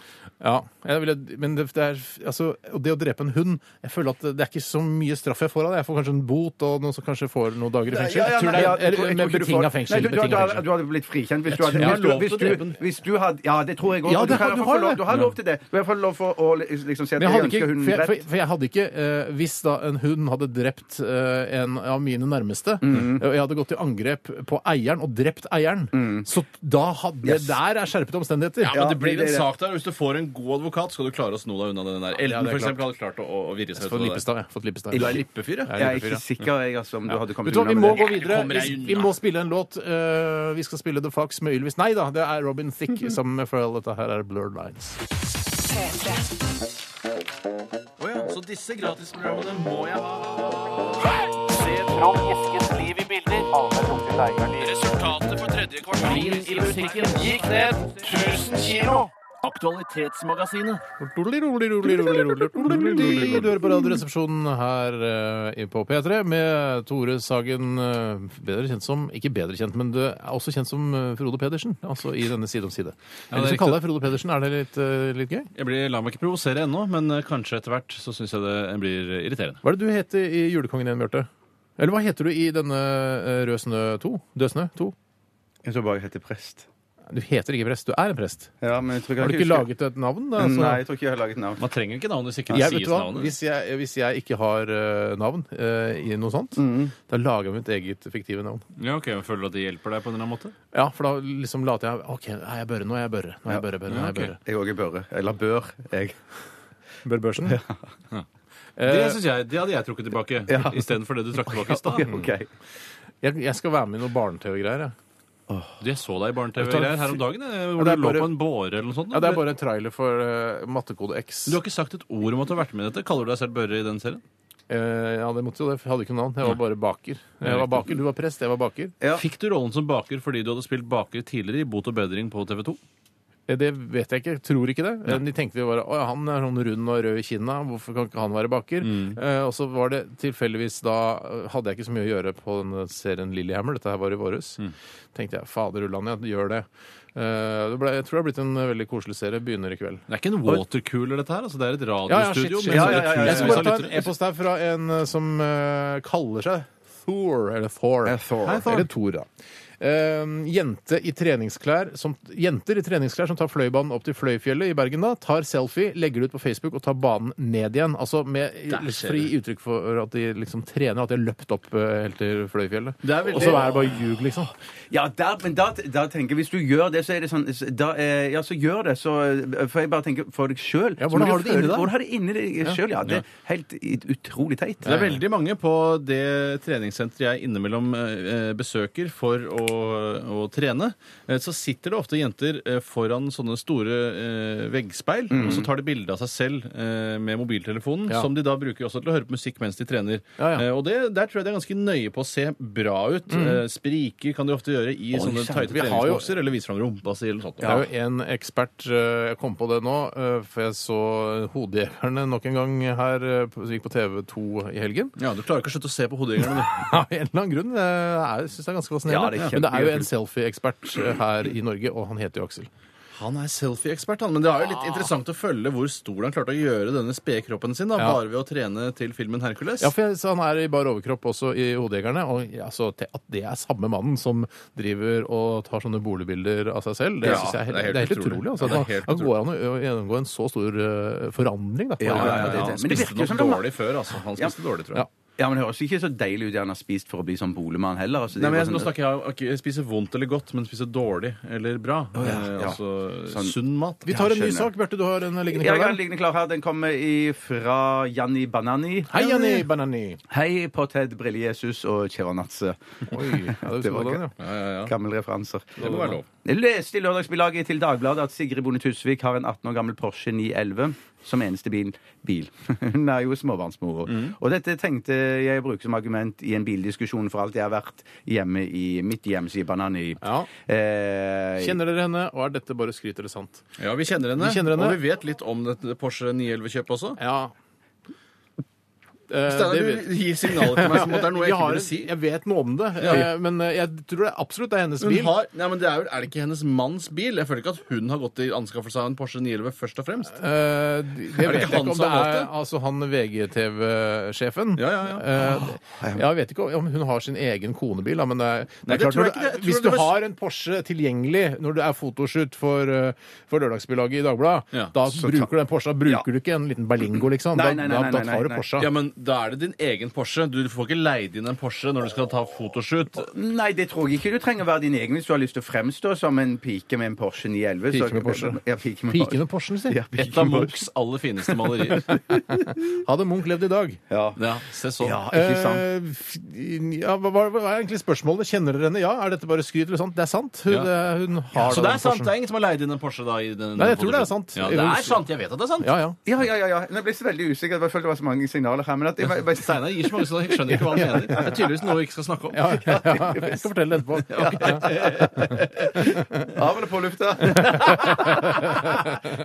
Ja, jeg ville, men det, det er altså, og det å drepe en hund Jeg føler at det er ikke så mye straff jeg får av det. Jeg får kanskje en bot og noen som kanskje får noen dager i fengsel. Ja, ja, Tror nei, det ja, er- jeg tror- jeg eller tror med ikke du får- betinga fengsel. Nei, du, du, betinget du, hadde- fengsel. du hadde blitt frikjent hvis du hadde tror jeg hvis har du- lov hvis til å du- drepe den. Hvis du hadde Ja, det tror jeg òg. Ja, det har- du har det. du har lov til det. Du har fått lov for å liksom si at Men jeg jeg hadde ikke, ønsker hunden for, jeg, drept. for, for jeg hadde ikke eh, Hvis da en hund hadde drept eh, en av mine nærmeste, Mm. og jeg hadde gått til angrep på eieren og drept eieren, så da hadde Mm. Yes. Der er skjerpede omstendigheter. Ja, men Ja, det blir det- det- en sak der. og Hvis du får en god advokat, skal du klare å sno deg unna den der. Elden, det er for eksempel, hadde klart å, å virre Jeg seg har ut fått av det. Lippestad, jeg. har Fått Lippestad. Du er lippefyr, ja. Jeg er ikke sikker jeg, altså, om du hadde kommet Vet du hva, Vi må gå det. videre. Kommer jeg Vi, unna? vi må spille en låt. Eh, vi skal spille The Fox med Ylvis. Nei da, det er Robin Thicke sammen med Pharrell. Dette her er Blurred Lines. P3. Så disse gratisprogrammene må jeg ha. Resultatet på tredje kvartal i musikken gikk ned 1000 kilo. Aktualitetsmagasinet. Du hører på Radioresepsjonen her eh, på P3 med Tore Sagen, eh, bedre kjent som Ikke bedre kjent, men du er også kjent som eh, Frode Pedersen. Altså i denne Side om side. Ja, Eller det er så kaller jeg Frode Pedersen. Er det litt, eh, litt gøy? Jeg blir, la meg ikke provosere ennå, men eh, kanskje etter hvert så syns jeg det blir irriterende. Hva er det du heter i Julekongen igjen, Bjarte? Eller hva heter du i denne eh, Rød snø 2? Død snø 2? Jeg tror bare jeg heter prest. Du heter ikke prest, du er en prest. Ja, men jeg tror Har du ikke laget et navn? Da, altså? Nei, jeg tror ikke jeg har laget navn. Man trenger ikke navn hvis ikke det Jeg, vet sies du hva? navnet. Hvis, jeg, hvis jeg ikke har eh, navn eh, i noe sånt, Mm. da lager jeg mitt eget fiktive navn. Ja, ok, jeg Føler du at det hjelper deg på en eller annen måte? Ja, for da liksom later jeg OK, er jeg Børre nå? Er jeg Børre? Nå er jeg Børre, Børre, nå er jeg Ja, Børre. Jeg òg er Børre. Eller Bør, jeg. Børre Børsen? Det Eh, synes jeg, det hadde jeg trukket tilbake, istedenfor det du trakk tilbake i stad. OK. jeg, jeg skal være med i noe barne-TV-greier. jeg. Du, Jeg så deg i Jeg tar barne-TV-greier her om dagen, eh, Ja, hvor det du er lå bare- på en båre eller noe sånt. Ja, det er bare en trailer for eh, Mattekode X. Du har ikke sagt et ord om at du har vært med i dette. Kaller du deg selv Børre i den serien? Eh, ja, det måtte jo det. for Jeg hadde ikke noe navn. Jeg var bare baker. Jeg var baker, Du var prest, jeg var baker. Ja. Fikk du rollen som baker fordi du hadde spilt baker tidligere i Bot og bedring på TV 2? Eh, Det vet jeg ikke. Tror ikke det. Eh, De tenkte jo bare å ja, han er sånn rund og rød i kinna, hvorfor kan ikke han være baker? Eh, og så var det tilfeldigvis da eh, Hadde jeg ikke så mye å gjøre på den serien Lillehammer, dette her var i våres. Tenkte jeg fader ulland, jeg gjør det. Eh, det ble, jeg tror det har blitt en eh, veldig koselig serie. Begynner i kveld. Det er ikke en watercooler, dette her. altså Det er et radiostudio. shit, shit. med Ja, ja, ja, ja, ja. Jeg skal bare ta en tusenvis av lyttere. e-post her fra en eh, som eh, kaller seg Thor, eller Thor. Ja, Thor. Hei, Eller Thor, da. Eh, jente i treningsklær som, jenter i treningsklær som tar Fløibanen opp til Fløyfjellet i Bergen, da, tar selfie, legger det ut på Facebook og tar banen ned igjen. Altså med litt skjer fri uttrykk for at de liksom trener, at de har løpt opp eh, helt til Fløyfjellet. Det er veldig- Og så er det bare ljug, liksom. Ja, der, men da, da tenker jeg Hvis du gjør det, så er det sånn da, eh, Ja, så gjør det. Så, eh, for jeg bare tenker for deg sjøl. Ja, hvordan har du det inni deg? Hvordan har du det inni deg sjøl? Ja, det er helt i- utrolig teit. Det er veldig mange på det treningssenteret jeg innimellom eh, besøker for å, å trene. eh, Så sitter det ofte jenter eh, foran sånne store eh, veggspeil, og så tar de bilde av seg selv eh, med mobiltelefonen, Mm. Ja. som de da bruker også til å høre på musikk mens de trener. Ja, ja. Mm. Eh, Og det, der tror jeg de er ganske nøye på å se bra ut. Eh, Spriker kan de ofte gjøre i sånne sant. tighte Vi har jo- treningsbokser, eller vise fram rumpa si, eller noe sånt. Det er jo en ekspert eh, Jeg kom på det nå, eh, for jeg så Hodejegerne nok en gang her eh, på- gikk på TV2 i helgen. Ja, Du klarer ikke å slutte å se på hodejegerne, du. Av en eller annen grunn. eh, er- Jeg synes det er ganske Ja, fascinerende. det er Men det er jo en kjempekult. selfie-ekspert eh, her i Norge, og han heter jo Aksel. Han er selfie-ekspert, han. Men det er jo litt interessant å følge hvor stor han klarte å gjøre denne spede kroppen sin da, Ja. bare ved å trene til filmen Hercules. Ja, for jeg, så Han er i bar overkropp også i Hodejegerne. Og ja, så te- at det er samme mannen som driver og tar sånne boligbilder av seg selv, det Ja, synes jeg er helt, det er helt utrolig. Ja, altså. det er helt Da- da går han å å gjennomgå en så stor eh, forandring. Da, på Ja, ja, det. ja, det- Han men det spiste virker jo nok som det var- dårlig før, altså. Han Ja. spiste dårlig, tror Ja. jeg. Ja, men Det høres ikke så deilig ut det han har spist for å bli sånn boligmann heller. Altså, det Nei, men er jeg, nå jo sånn- snakker jeg om ikke spise vondt eller godt, men spise dårlig eller bra. eh, ja. Altså Sånn- sunn mat. Vi tar en ny skjønner. sak. Bjarte, du har en liggende Ja, jeg har klar en der. liggende klar her. Den kommer fra Janni Banani. Hei, Janni Banani. Hei, Pothead, Brille-Jesus og Chevanatze. Oi, ja, det Det var var den, gøy. ja. Ja, ja, ja. Gammel referanser. Det må være lov. Jeg leste i lørdagsbilaget til Dagbladet at Sigrid Bonde Tusvik har en 18 år gammel Porsche 911 som eneste bil. bil. Hun er jo småbarnsmor. Og dette tenkte jeg å bruke som argument i en bildiskusjon for alt jeg har vært hjemme i mitt hjem, sier Banani. Ja. Eh, Kjenner dere henne, og er dette bare skryt eller sant? ja, vi kjenner henne. Vi kjenner henne. Og vi vet litt om dette Porsche 911-kjøpet også. Ja. Eh, Steinar, det vet- du gir signaler til meg som at det er noe jeg Jeg har ikke burde en- si. Jeg vet noe om det, eh, men eh, jeg tror det absolutt det er hennes Hun bil. har, nei, men det er, vel, er det ikke hennes manns bil? Jeg føler ikke at hun har gått til anskaffelse av en Porsche 911 først og fremst. Eh, det Er det vet ikke jeg han ikke om som det har er valgt det? altså han VGTV-sjefen. Ja, ja, ja. Eh, det- jeg vet ikke om hun har sin egen konebil, da, men det er, det er Nei, det klart, tror jeg ikke. når du, Jeg tror hvis det du var- har en Porsche tilgjengelig når det er fotoshoot for, eh, for Lørdagsbilaget i Dagbladet, Ja. da Så bruker ta- du den Porsche. Da bruker du ikke en liten Berlingo, liksom. Nei, Da, nei, nei, da, nei, da nei, tar du nei. Porsche. Ja, men Da er det din egen Porsche. Du får ikke leid inn en Porsche når du skal ta fotoshoot. Nei, det tror jeg ikke du trenger å være din egen hvis du har lyst til å fremstå som en pike med en Porsche 911. så- Pike med Porsche. Ja, pike med Piken Porsche. og Porschen, si. Ja, pike Et av med Porsche. Munchs aller fineste malerier. Hadde Munch levd i dag, Ja. Ja, se sånn. ja, ikke sant? Eh, f- ja, hva, hva hva er egentlig spørsmålet? Kjenner dere henne? Ja, er dette bare skryt eller sant? Det er sant. Hun, Ja. det- hun har Så da det den er sant? Porschen. Det er ingen som har leid inn en Porsche? da? I den, Nei, jeg tror det er sant. Ja, det er sant. Jeg vet at det er sant. Ja, ja. Ja, ja, ja, ja. Jeg ble så veldig usikker. Jeg følte det var så mange signaler her. Men at jeg, bare- bare- Steinar gir så mange, så jeg skjønner ikke hva han mener. Det er tydeligvis noe vi ikke skal snakke om. Ja, ja, Jeg skal fortelle det etterpå. av eller på lufta? Jeg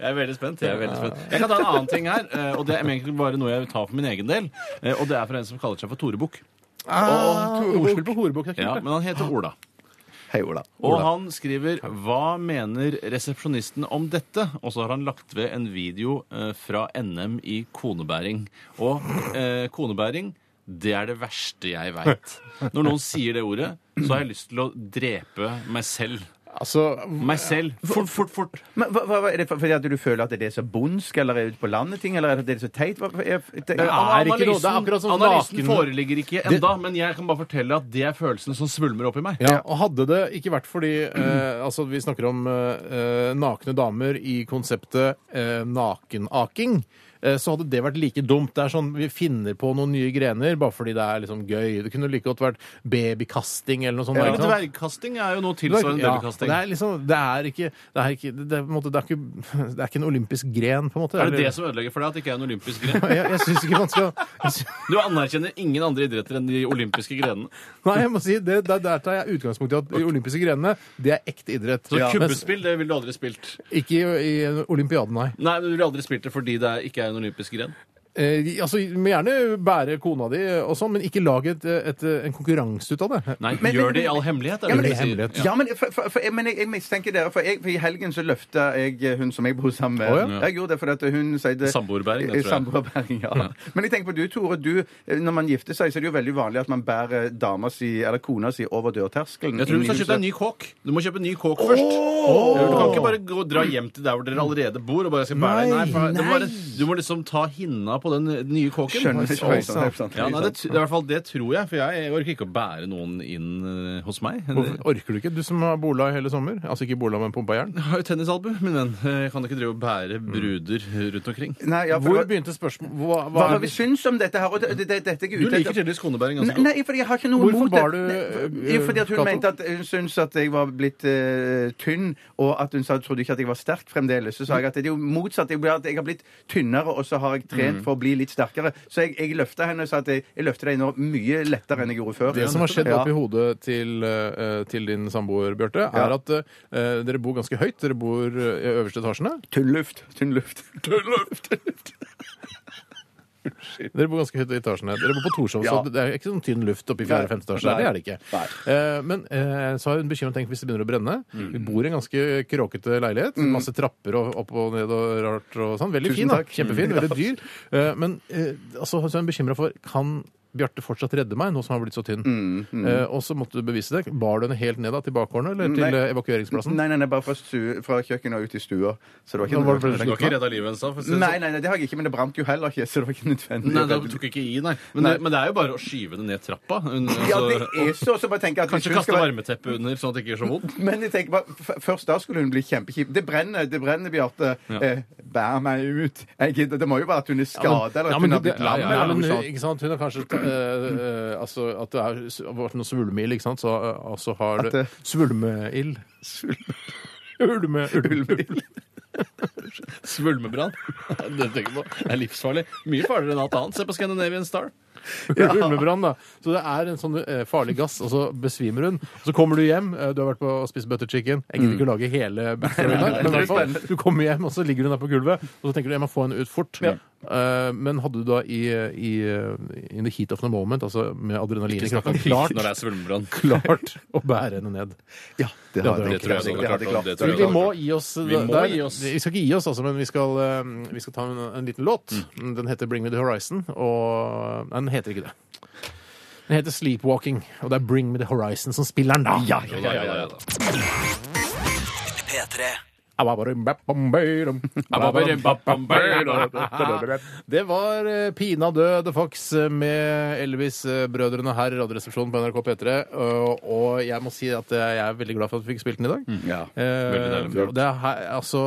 er veldig spent. Jeg er veldig spent. Jeg kan ta en annen ting her, eh, og det er egentlig bare noe jeg vil ta for min egen del. eh, Og det er fra en som kaller seg for Tore Bukk. Ah, Ordspill på horebukk. Ja, men han heter Ola. Hei, Ola. Og han skriver 'Hva mener resepsjonisten om dette?' Og så har han lagt ved en video eh, fra NM i konebæring. Og eh, konebæring, det er det verste jeg veit. Når noen sier det ordet, så har jeg lyst til å drepe meg selv. Altså, Meg selv. Fort, fort, fort. Men hva, hva, er det for- fordi at du føler at det er så bondsk, eller er det ute på landet ting, eller er det så teit? Hva, hva er, det, er ikke noe- det er akkurat som sånn analysen naken- foreligger ikke enda, men jeg kan bare fortelle at det er følelsene som svulmer opp i meg. ja, og hadde det ikke vært fordi eh, altså Vi snakker om eh, eh, nakne damer i konseptet eh, nakenaking. eh, så hadde det vært like dumt. Det er sånn vi finner på noen nye grener bare fordi det er liksom gøy. Det kunne like godt vært babykasting eller noe sånt. Ja, ikke sant? Dvergkasting er jo noe tilsvarende Ja, dvergkasting. og Det er liksom, det er ikke Det er ikke, det er, på en måte, det er ikke, det er ikke en olympisk gren, på en måte. Er det eller? det som ødelegger for deg, at det ikke er en olympisk gren? jeg, jeg syns ikke man skal jeg sy- Du anerkjenner ingen andre idretter enn de olympiske grenene. Nei, jeg må si, det, der, der tar jeg utgangspunkt i at de olympiske grenene, det er ekte idrett. Så Ja. Mens kubbespill, det ville du aldri spilt. ikke i, i olympiaden, nei. Nei, men du ville aldri spilt det fordi det er- ikke er en olympisk gren. Eh, de- altså, du må gjerne bære kona di og sånn, men ikke lag et, et, en konkurranse ut av det. Nei, Men- gjør men- det i all hemmelighet. er det Ja, men, du sier. hemmelighet. ja, men, for, for, for, men jeg, jeg mistenker dere, for, jeg, for i helgen så løfta jeg eh, hun som jeg bor sammen med. Å, ja. Jeg gjorde det fordi at hun sier Samboerbæring, det tror jeg. Samboerbæring, ja. Men jeg tenker på du, Tore. Du, eh, når man gifter seg, så er det jo veldig vanlig at man bærer dama si, eller kona si over dørterskelen. Jeg tror du skal kjøpe deg en ny kåk. Du må kjøpe en ny kåk først. Du kan ikke bare gå, dra hjem til der hvor dere allerede bor og bare skal bære deg. Nei, Nei, for, du, må nei. bare, du må liksom ta hinna på den nye kåken. Skjønner ikke hva jeg sa. Ja, nei, det, det er i hvert fall det tror jeg, for jeg orker ikke å bære noen inn eh, hos meg. Hvorfor Orker du ikke, du som har bola i hele sommer? Altså ikke bola, men pumpa jern? Jeg har jo tennisalbu, min venn. Jeg kan ikke drive og bære bruder rundt omkring. Nei, ja, for, Hvor hva, begynte spørsmålet? Hva, hva hva, har vi syns om dette her? Og det, det, det, dette er jeg Du ute liker etter. tydeligvis konebæring Nei, ganske godt. nei, fordi jeg har ikke noe Hvorfor imot bar det. du, eh, Nei, jo, fordi at hun Cato? mente at hun syntes at jeg var blitt eh, tynn, og at hun sa, trodde ikke at jeg var sterk fremdeles. Så sa jeg at det er jo motsatt. Jeg, ble- at jeg har blitt tynnere, og så har jeg Mm. trent for å bli litt sterkere. Så jeg, jeg løfta henne og sa at jeg, jeg løfter deg nå mye lettere enn jeg gjorde før. Det som har skjedd Ja. oppi hodet til, eh, til din samboer, Bjarte, er Ja. at eh, dere bor ganske høyt. Dere bor eh, i øverste etasjene. Tynn luft. Tynn luft. Dere bor ganske høyt i etasjene. Dere bor på Torshov, Ja. så det er ikke sånn tynn luft oppi fjerde Nei. femte etasje. der, Det Nei. er det ikke. Nei. Mm. Eh, men eh, så har hun bekymret tenkt hvis det begynner å brenne. Vi bor i en ganske kråkete leilighet. Masse trapper og opp og ned og rart og sånn. Veldig Tusen fin, da. takk. Kjempefin. Veldig dyr. Eh, men eh, altså, så er hun bekymra for kan Bjarte fortsatt redde meg, nå som han har blitt så tynn. Mm, Eh, og så måtte du bevise det. Bar du henne helt ned da, til bakhårene, eller til Mm, Nei. eh, evakueringsplassen? Altså, Nei, nei, nei, bare fra, stu, fra kjøkkenet og ut i stua. Så det var ikke Nå var det Du plutselig- har ikke redda livet hennes da? for å si det Nei, sånn. nei, nei, det har jeg ikke, men det brant jo heller ikke, så det var ikke nødvendig. Nei, da tok jeg ikke i, nei. Men, Nei. Det, men det er jo bare å skyve det ned trappa. Hun- Ja, altså, det er så, så bare tenker jeg at hvis Kanskje hun skal kaste være- varmeteppet under, sånn at det ikke gjør så vondt. Men jeg tenker bare, f- først da skulle hun bli kjempekjip. Det brenner, det brenner, Bjarte. Ja. Eh, bær meg ut. Jeg gidder. Det må jo være at hun er skada, eller at Ja, men hun har det- blitt lam. ja, ja, eller men, noe sånt. ikke sant? Hun har kanskje eh, eh, altså, At det har s- vært noe svulmeild, ikke sant? Så eh, altså har At det det- Svulmeild. Ulme, ulme. Svulmebrann. Det tenker jeg på. Det er livsfarlig. Mye farligere enn alt annet. Se på Scandinavian Star. Ulmebrann, da. Så det er en sånn eh, farlig gass, og så besvimer hun. Så kommer du hjem, eh, du har vært på å spise butter chicken Jeg gidder ikke Mm. å lage hele backstoryen der, men i hvert fall, du kommer hjem, og så ligger hun der på gulvet, og så tenker du jeg må få henne ut fort. Eh, men hadde du da i, i eh, in the heat of the moment, altså med adrenalin i kroppen, klart, når det er svulmebrann. klart å bære henne ned? Ja, det Ja, hadde det jeg tror klart. jeg også Det hadde klart. jeg klart. Det tror Vi, jeg Det hadde vi jeg må klart. gi oss. eh, Vi må der. gi oss. Vi skal ikke gi oss, altså, men vi skal, eh, vi skal ta en, en liten låt. Mm. Den heter 'Bring Me The Horizon'. Og Nei, den heter ikke det. Den heter 'Sleepwalking', og det er 'Bring Me The Horizon' som spiller den, da. Ja, Ja, ja, ja, ja. Det var eh, Pina døde Fox eh, med Elvis-brødrene her i Radioresepsjonen på NRK P3. Og- Og jeg må si at eh, jeg er veldig glad for at vi fikk spilt den i dag. Mm. Ja. Eh, Veldig deilig. og det er her- altså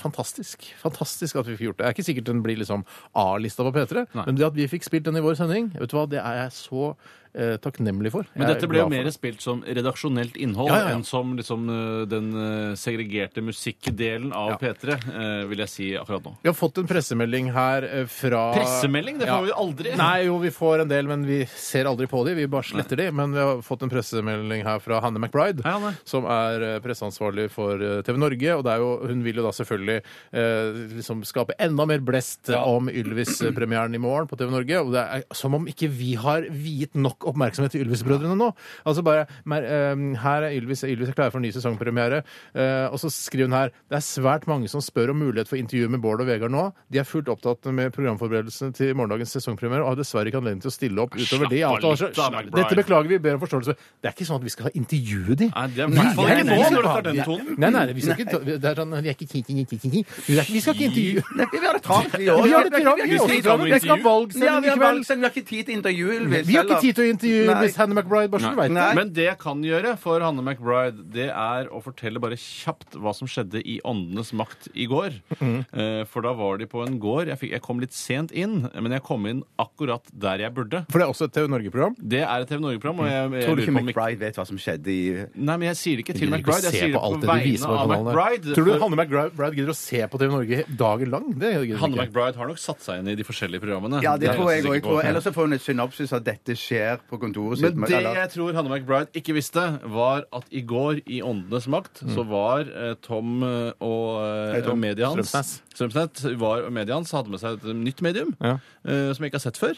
fantastisk. Fantastisk at vi fikk gjort det. Det er ikke sikkert den blir liksom A-lista på P3, men det at vi fikk spilt den i vår sending, vet du hva, det er jeg så eh, takknemlig for. Men Jeg er dette ble jo glad for mer det. spilt som redaksjonelt innhold Ja, ja, ja. enn som liksom, eh, den eh, segregerte musikkdelen av P3, eh, vil jeg si akkurat nå. Vi har fått en pressemelding her eh, fra Pressemelding? Det får vi aldri. Nei, jo, vi får en del, men vi ser aldri på de. Vi bare sletter de. Men vi har fått en pressemelding her fra Hanne McBride, Hei, Hanne. som er eh, presseansvarlig for eh, TV Norge. Og det er jo, hun vil jo da selvfølgelig eh, liksom skape enda mer blest om Ylvis-premieren i morgen på TV Norge. Og det er som om ikke vi har viet nok oppmerksomhet til Ylvis-brødrene nå. Altså bare mer, eh, Her er Ylvis, Ylvis er klare for en ny sesongpremiere. Eh, og så skriver hun her det er svært mange som spør om mulighet for intervju med Bård og Vegard nå. De er fullt opptatt med programforberedelsene til morgendagens sesongpremiere og har dessverre ikke anledning til å stille opp utover det. i Slapp av avtalen. litt da, McBride. Dette beklager vi, ber om forståelse. Det er ikke sånn at vi skal intervjue de. Nei, det er i hvert fall Nei, ikke nå nei, nei, når du nei. tar den tonen. Nei, nei, vi skal ikke ta, det er sånn, vi er ikke ki, ki, ki, ki, ki. Vi er ikke- Vi skal ikke intervjue Nei, vi har det travelt, vi Vi har òg. det travelt, vi skal også. ikke ta noe Vi skal ha intervju. Ja, valgsending vi i har kveld. valgsending, vi har ikke tid til intervju, Ylvis. Vi har ikke tid til å intervjuer Nei. Miss Hanne McBride Barsen, veit Nei. du. Men det jeg kan gjøre for Hanne McBride, det er å fortelle bare kjapt hva som skjedde i Åndenes makt i går. Mm. Eh, For da var de på en gård. Jeg, fikk, jeg kom litt sent inn, men jeg kom inn akkurat der jeg burde. For det er også et TV Norge-program. Det er et TV Norge-program, Mm. og jeg, jeg Tror du lurer på ikke om ikke McBride vet hva som skjedde i Nei, men jeg sier det ikke til Gidder ikke McBride. se Jeg sier det på alt på det du vegne viser på av kanalen der. McBride. Tror du for- Hanne McBride gidder å se på TV Norge dagen lang? Det Hanne gidder hun ikke. McBride har nok satt seg inn i de forskjellige programmene. Ja, det er tror jeg ganske òg. sikker på. Ellers så får hun et synopsis av at dette skjer på kontoret sitt. Men det jeg tror Hanne McBride ikke visste, var at i går i Åndenes makt så var eh, Tom eh, og eh, Hei, Tom. media hans Strømsnes. Strømsnes var og media hans hadde med seg et nytt medium Ja. eh, som jeg ikke har sett før.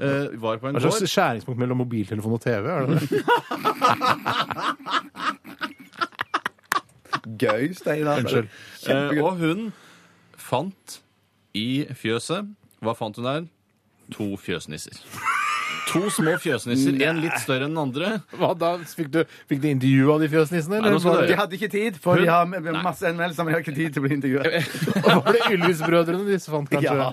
Eh, var på en Hva gård. slags skjæringspunkt mellom mobiltelefon og TV? Er det det? Gøy, Steinar. Unnskyld. Eh, og hun fant i fjøset Hva fant hun der? To fjøsnisser. To små fjøsnisser, en litt større enn den andre. Hva da? Fikk du, fikk du intervju av de fjøsnissene? Nei, nå Eller skal var De det, hadde ikke tid, for de har masse anmeldelser, men de har ikke tid til å bli intervjuet. var det Ylvis-brødrene disse fant, kanskje? Ja.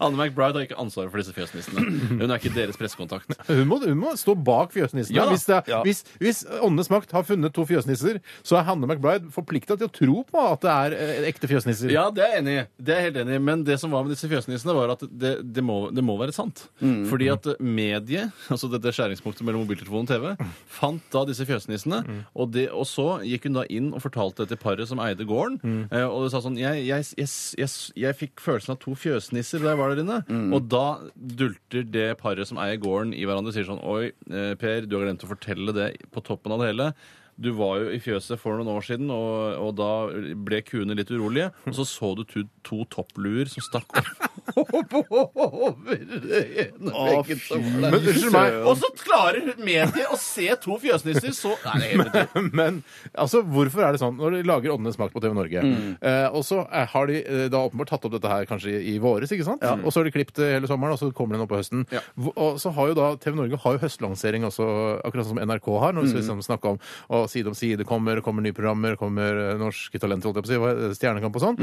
Anne McBride har ikke ansvaret for disse fjøsnissene. Hun er ikke deres pressekontakt. Hun må, hun må stå bak fjøsnissene. Ja da. Hvis, det, er- Ja. hvis, hvis Åndenes makt har funnet to fjøsnisser, så er Hanne McBride forplikta til å tro på at det er eh, ekte fjøsnisser. Ja, det er jeg enig i. Det er jeg helt enig i. Men det som var med disse fjøsnissene, var at det, det, må, det må være sant. Fordi at mediet, altså dette skjæringspunktet mellom mobiltelefon og TV, fant da disse fjøsnissene. Og, det, og så gikk hun da inn og fortalte det til paret som eide gården. eh, Og det sa sånn jeg, jeg, jeg, jeg, jeg fikk følelsen av to fjøsnisser da jeg var der inne. Og da dulter det paret som eier gården, i hverandre og sier sånn Oi, eh, Per, du har glemt å fortelle det på toppen av det hele. Du var jo i fjøset for noen år siden, og, og da ble kuene litt urolige. Og så så du to, to toppluer som stakk opp over det ene veggen som var der. Men unnskyld meg. Og så klarer mediet å se to fjøsnisser, så Nei, det er helt utrolig. Men altså, hvorfor er det sånn når de lager Åndenes makt på TV Norge? Mm. Eh, og så eh, har de eh, da åpenbart tatt opp dette her kanskje i, i våres, ikke sant? Og så har de klippet det hele sommeren, og så kommer den opp på høsten. Ja. Hvor- Og så har jo da TV Norge har jo høstlansering også, akkurat sånn som NRK har, når vi skal liksom, snakke om og Side om side kommer, kommer nye programmer, kommer eh, Norske Talenter, holdt jeg på å si, hva er det, Stjernekamp og sånn.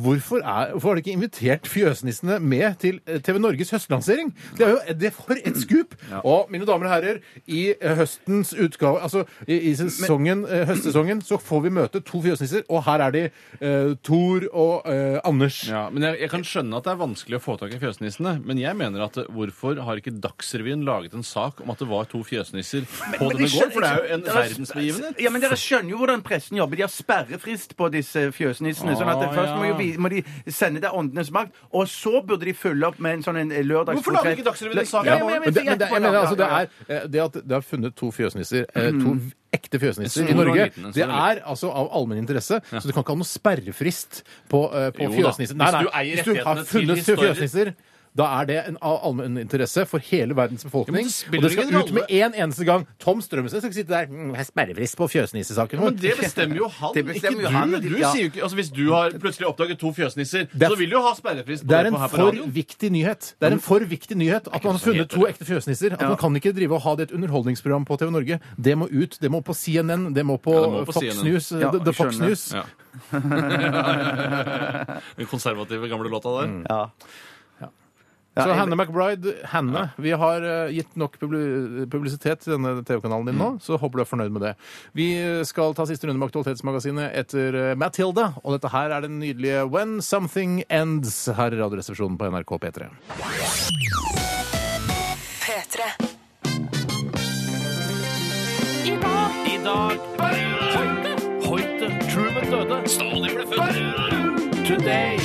Hvorfor, er, hvorfor har de ikke invitert fjøsnissene med til eh, TV Norges høstlansering? Det er jo det er for et skup! Og mine damer og herrer, i eh, høstens utgave, altså i, i sesongen, eh, høstsesongen, så får vi møte to fjøsnisser, og her er de, eh, Tor og eh, Anders. Ja, men jeg, jeg kan skjønne at det er vanskelig å få tak i fjøsnissene. Men jeg mener at eh, hvorfor har ikke Dagsrevyen laget en sak om at det var to fjøsnisser på Men de denne gården? skjønner- For det er jo en Dere- verdensbegivenhet. Ja, men Dere skjønner jo hvordan pressen jobber. De har sperrefrist på disse fjøsnissene. sånn at det Å, Først må, jo, ja. vi- må de sende det Åndenes makt, og så burde de følge opp med en sånn en lørdags... Hvorfor lager ikke Dagsrevyen en sak? Ja, Ja, men jeg Men vet det, ikke men det, jeg hvorfor mener, de altså, det, lager- er, eh, det at det er funnet to fjøsnisser, eh, to ekte fjøsnisser i Stor og Norge, Mm. liten, en stor det og er altså av allmenn interesse, så du kan ikke ha noen sperrefrist på, eh, på Jo da. fjøsnisser. Nei, Hvis nei, du eier hvis du har rettighetene til funnet historier- fjøsnisser, da er det en av allmenn interesse for hele verdens befolkning. Ja, men det og spiller det skal ingen ut med én eneste gang. Tom Strømsnes skal sitte der mm, jeg har sperrefrist på fjøsnissesaken Men vår. det bestemmer jo han, Det bestemmer jo ikke du. han, du ja. sier jo ikke, altså Hvis du har plutselig oppdaget to fjøsnisser, Det er- så vil du jo ha sperrefrist. på Det er på en Mm. her på for radioen. viktig nyhet Det er en for viktig nyhet at man har funnet to ekte fjøsnisser. At man kan ikke drive og ha det i et underholdningsprogram på TV Norge. Det må ut. Det må på CNN, det må på, Ja, det må på Fox CNN. News. eh, Ja, The, the Fox skjønner. News. Ja. Den konservative gamle låta der. Ja. Ja, Så jeg- Hanne McBride, Hanne, vi har eh, gitt nok publi- publisitet til denne TV-kanalen din nå, Mm. så håper du er fornøyd med det. Vi eh, skal ta siste runde med Aktualitetsmagasinet etter eh, Matilda, og dette her er den nydelige When Something Ends her i Radioresepsjonen på NRK P3. P3. I dag Hoite Hoite Truman døde Stalin ble født Today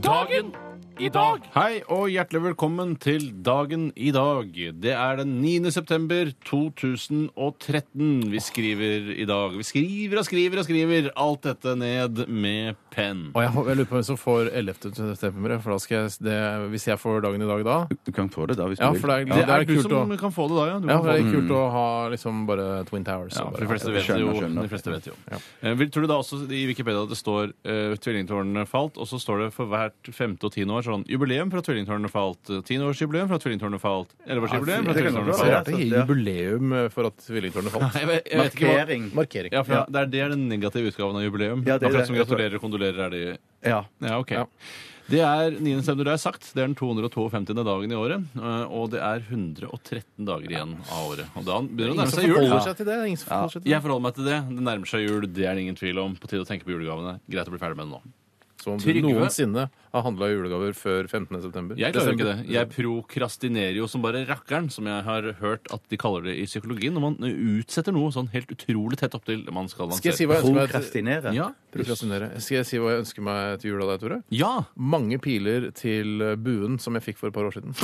Dagen I dag Hei og hjertelig velkommen til dagen i dag. Det er den 9. september 2013 vi skriver i dag. Vi skriver og skriver og skriver alt dette ned med penn. Og jeg, hå- jeg lurer på hvem som får 11. september, for da skal jeg, det, hvis jeg får dagen i dag da Du kan få det da, hvis Ja, du for det er, Det det er er du kult å som kan få det da, ja. Du kan ja, for få det det. er kult å ha liksom bare Twin Mm. Towers. Ja, og for de bare- fleste det vet det jo. skjønner, skjønner. De fleste vet jo. Eh, vil- Tror du da også i Wikipedia at det står uh, tvillingtårnene falt, og så står det for hvert femte og tiende år er sånn jubileum fra Tvillingtårnet falt, eh, tiårsjubileum fra Tvillingtårnet falt, elleveårsjubileum fra det kan du Tvillingtårnet bra. Så falt. rart det er jubileum for at tvillingtårnet falt. Jeg vet, jeg vet ikke hva Markering. Markering. ja, for det- det, er, det er den negative utgaven av jubileum. Ja, det er Akkurat det. som gratulerer og kondolerer er det Ja. Ja, ok. Ja. Det er 9. september, det er sagt. Det er den 252. dagen i året. øh, Og det er 113 dager igjen av året. Og da begynner det å Ingen nærme som seg jul. forholder seg til det. Ingen som Ja, forholder seg til jeg forholder meg til det. Det nærmer seg jul, det er det ingen tvil om. På tide å tenke på julegavene. Greit å bli ferdig med det nå. det. Som om du Trygve- noensinne har handla julegaver før 15. september. Jeg klarer ikke det. Desember. Jeg prokrastinerer jo som bare rakkeren, som jeg har hørt at de kaller det i psykologien, når man utsetter noe sånn helt utrolig tett opp til det man skal Skal jeg si lansere. hva jeg ønsker meg? Prokrastinere. Ja. Prokrastinere. Skal jeg si hva jeg ønsker meg til jul av deg, Tore? Ja! Mange piler til eh, buen som jeg fikk for et par år siden.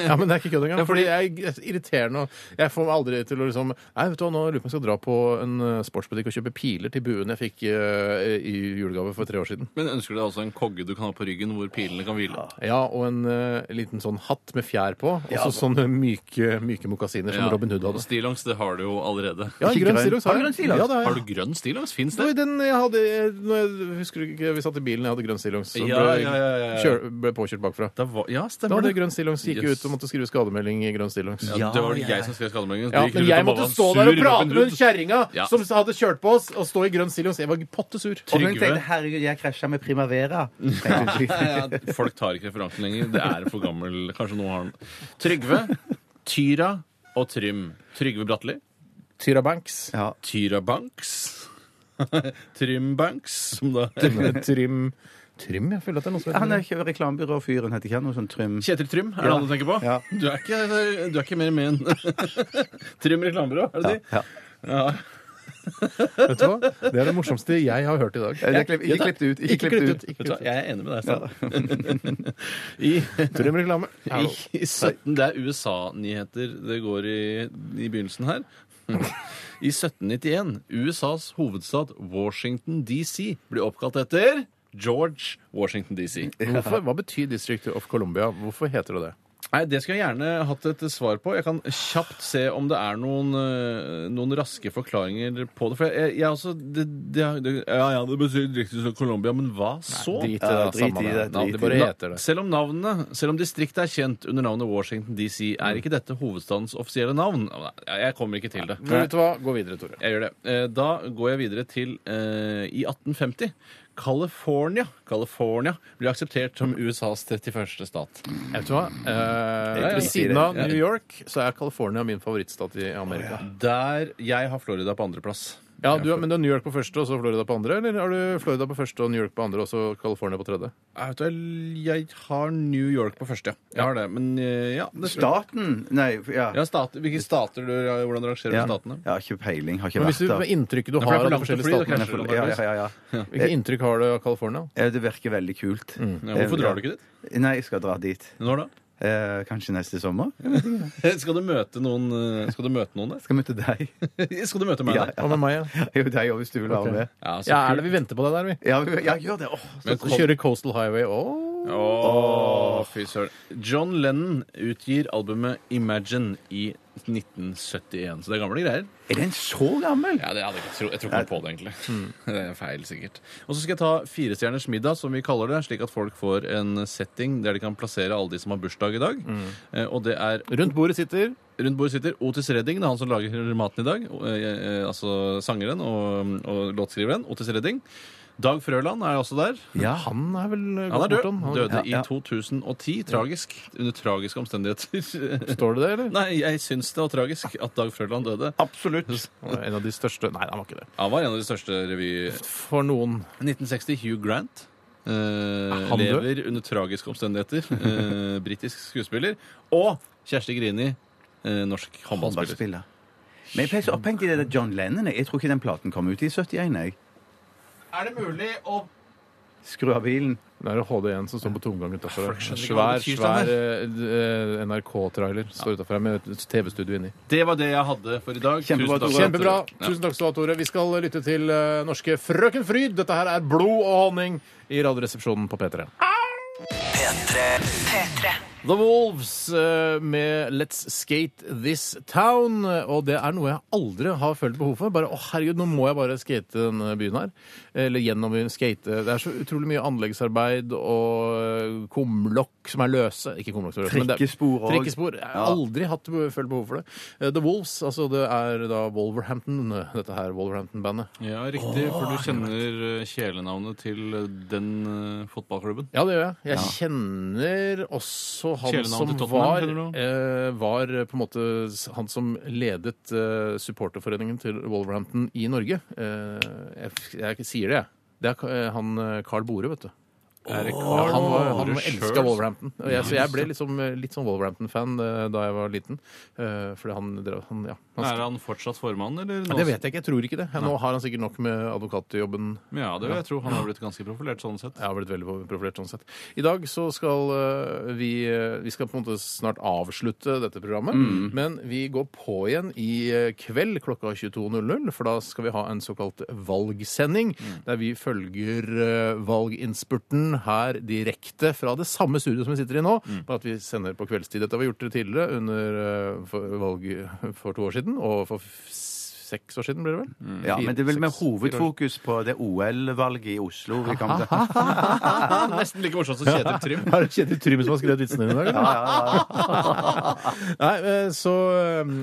Ja, men det er ikke kødd engang. Ja, Fordi fordi- jeg er irriterende og Jeg får meg aldri til å liksom Nei, vet du hva, nå lurer jeg på om jeg skal dra på en eh, sportsbutikk og kjøpe piler til buen jeg fikk eh, i julegave for tre år siden. Men ønsker du deg også en kogge du kan ha på ryggen hvor pilene kan hvile? Ja, og en eh, liten sånn hatt med fjær på. Og så sånne myke, myke mokasiner som Ja. Robin Hood hadde. Stillongs, det har du jo allerede. Ja, Ikke grønn grønn. stillongs. Har du grønn stillongs? Ja, det har jeg. Har du grønn stillongs? Fins Det det? var den jeg hadde eh, når jeg, Husker du ikke vi satt i bilen, jeg hadde grønn stillongs og Ja, ble, ja, ja, ja, ja. Kjør, ble påkjørt bakfra. Da var, ja, Da stemmer var det det. grønn stillongs. Gikk Yes. ut og måtte skrive skademelding i grønn stillongs. Ja, det var det jeg som skrev skademeldingen. Ja, Du gikk men rundt jeg og måtte var stå sur der og Robin prate med Hood. hun kjerringa Ja. som hadde kjørt på oss, og stå i grønn stillongs. Jeg var pottesur. Og hun Trygve. tenkte 'herregud, jeg krasja med Primavera'. tenkte hun. Ja, ja, Folk tar ikke referansen lenger. Det er for gammel. Kanskje noen har den. Trygve, Tyra og Trym. Trygve Bratteli. Tyra Banks. Ja. Tyra Banks. Trym Banks, som da Trym Trym? Jeg føler at det er noe som Han er ikke reklamebyråfyren, heter ikke han noe sånn Trym? Kjetil Trym, er det han du tenker på? Ja. Du, er ikke, du er ikke mer med enn Trym reklamebyrå, er det de? Ja. Vet du hva? Det er det morsomste jeg har hørt i dag. Ikke klipp ikke klipp det ut. Ikke klipp det ut. Ikke Vet du hva, klipp jeg er enig med deg, Stein. I, ut. Trym reklame. i, i 17, det er USA-nyheter det går i, i begynnelsen her. I 1791, USAs hovedstad Washington DC blir oppkalt etter George Washington DC. Hvorfor, hva betyr District of Columbia? Hvorfor heter det det? Nei, Det skulle jeg gjerne hatt et svar på. Jeg kan kjapt se om det er noen, eh, noen raske forklaringer på det. For jeg, jeg også det, det, det, Ja, ja, det betyr riktig som Colombia, men hva så? Drit i det. Ja, da, drit i samme det, det. drit Navnet i bare Na- heter det. Selv om navnene, selv om distriktet er kjent under navnet Washington DC, Mm. er ikke dette hovedstadens offisielle navn. Nei, Jeg kommer ikke til det. Vet du hva? Gå videre, Tore. Jeg gjør det. Eh, Da går jeg videre til eh, i 1850. California, California blir akseptert som USAs 31. stat. Vet du hva? Eh, ja. ved siden av New York så er California min favorittstat i Amerika. Der jeg har Florida på andreplass. Ja, du, Men du har New York på første og så Florida på andre? Eller har du Florida på første og New York på andre og så California på tredje? Jeg, vet, du, jeg har New York på første, ja. Jeg har det, men eh, ja, det tror jeg. Staten? Nei, ja. ja stat, Hvilke stater du, hvordan rangerer du statene? Jeg har ikke peiling. Har ikke Men hvis vært du, der. med inntrykket du for det er har for av de langt å fly, forskjellige da krasjer statene du. Ja, ja, ja, ja. Hvilke inntrykk har du av California? Ja, Eh, Det virker veldig kult. Ja, Eh, Eh, hvorfor drar du ikke dit? Nei, jeg skal dra dit. Når da? Eh, kanskje neste sommer? Skal du møte noen, eh, skal du møte noen der? Skal møte deg. Skal du møte meg Ja, der? Hva med meg? Ja? Jo, deg òg, hvis du vil være med. Ja, så Ja, kult. er det vi venter på deg der, vi? Ja, ja gjør det. Åh, så- Men Så kom- kjører Coastal Highway Åh. Åh, fy søren. John Lennon utgir albumet Imagine i 1971. Så det er gamle greier. er den så gammel? Ja, det hadde Jeg ikke tro, jeg tror ikke noe på det, egentlig. Hmm. Det er feil, sikkert. Og så skal jeg ta Firestjerners middag, som vi kaller det, slik at folk får en setting der de kan plassere alle de som har bursdag i dag. Eh, Og det er Rundt bordet sitter Rundt bordet sitter Otis Redding, det er han som lager maten i dag. og, eh, eh, Altså sangeren og, og låtskriveren. Otis Redding. Dag Frøland er også der. Ja. Han er vel eh, Han er gått bort, død. han. Han- Døde ja. i 2010. Tragisk. Under tragiske omstendigheter. Står det det, eller? Nei, jeg syns det var tragisk at Dag Frøland døde. Absolutt. Han er En av de største Nei, han var ikke det. Han var en av de største revy... For noen 1960 Hugh Grant. eh, han død? lever under tragiske omstendigheter. Eh, Britisk skuespiller. Og Kjersti Grini, eh, norsk håndballspiller. Håndballspiller. Men jeg pleier så opphengt i det der John Lennon. Jeg Jeg tror ikke den platen kom ut i 71, jeg. Er det mulig å Skru av bilen. Det er HD1 som står på tomgang utafor. skjønner ikke hva Svær, det betyr, svær eh, eh, NRK-trailer står utafor her med et TV-studio inni. Det var det jeg hadde for i dag. Kjempebra, Tusen takk. Tore. Kjempebra. Tusen takk skal du ha, Tore. Vi skal lytte til eh, norske Frøken Fryd. Dette her er Blod og honning i Radioresepsjonen på P3. P3. The Wolves eh, med Let's Skate This Town. Og det er noe jeg aldri har følt behov for. Bare, å herregud, nå må jeg bare skate denne byen her. Eller gjennom byen, skate. Det er så utrolig mye anleggsarbeid og eh, kumlokk som er løse. Ikke kumlokk som er løse, men det er- Trikkespor og- Trikkespor. Jeg har aldri hatt be- følt behov for det. Eh, The Wolves, altså det er da Wolverhampton, eh, dette her Wolverhampton-bandet. Ja, riktig, for du kjenner eh, kjælenavnet til eh, den eh, fotballklubben. Ja, det gjør jeg. Jeg kjenner også han Kjælenavn som til Tottenham, var, kjenner du? eh, var eh, på en måte s- han som ledet eh, supporterforeningen til Wolverhampton i Norge. Eh, jeg, f- jeg sier det, jeg. Det er ka- eh, han eh, Carl Bore, vet du. Ja, han var, han Bore elska selv? Wolverhampton. Og jeg, så jeg ble liksom, eh, litt sånn Wolverhampton-fan eh, da jeg var liten. Eh, fordi han drev han, ja, han Er han fortsatt formann, eller? Nei, Det vet jeg ikke. Jeg tror ikke det. Nå har han sikkert nok med advokatjobben. Ja, det vil jeg tro. Han har blitt ganske profilert sånn sett. Jeg har blitt veldig profilert sånn sett. I dag så skal øh, vi øh, Vi skal på en måte snart avslutte dette programmet. Mm. Men vi går på igjen i øh, kveld klokka 22.00, for da skal vi ha en såkalt valgsending. Mm. Der vi følger øh, valginnspurten her direkte fra det samme studioet som vi sitter i nå. Mm. Bare at vi sender på kveldstid. Dette har vi gjort tidligere under øh, for, valget for to år siden, og for f- seks år siden, blir det vel? Mm. Ja, men det er vel med Fire, seks, fire år. hovedfokus på det OL-valget i Oslo vi kommer til. Nesten like morsomt som Kjetil Trym. Er det Kjetil Trym som har skrevet vitsene dine i dag? eller? Nei, eh, så,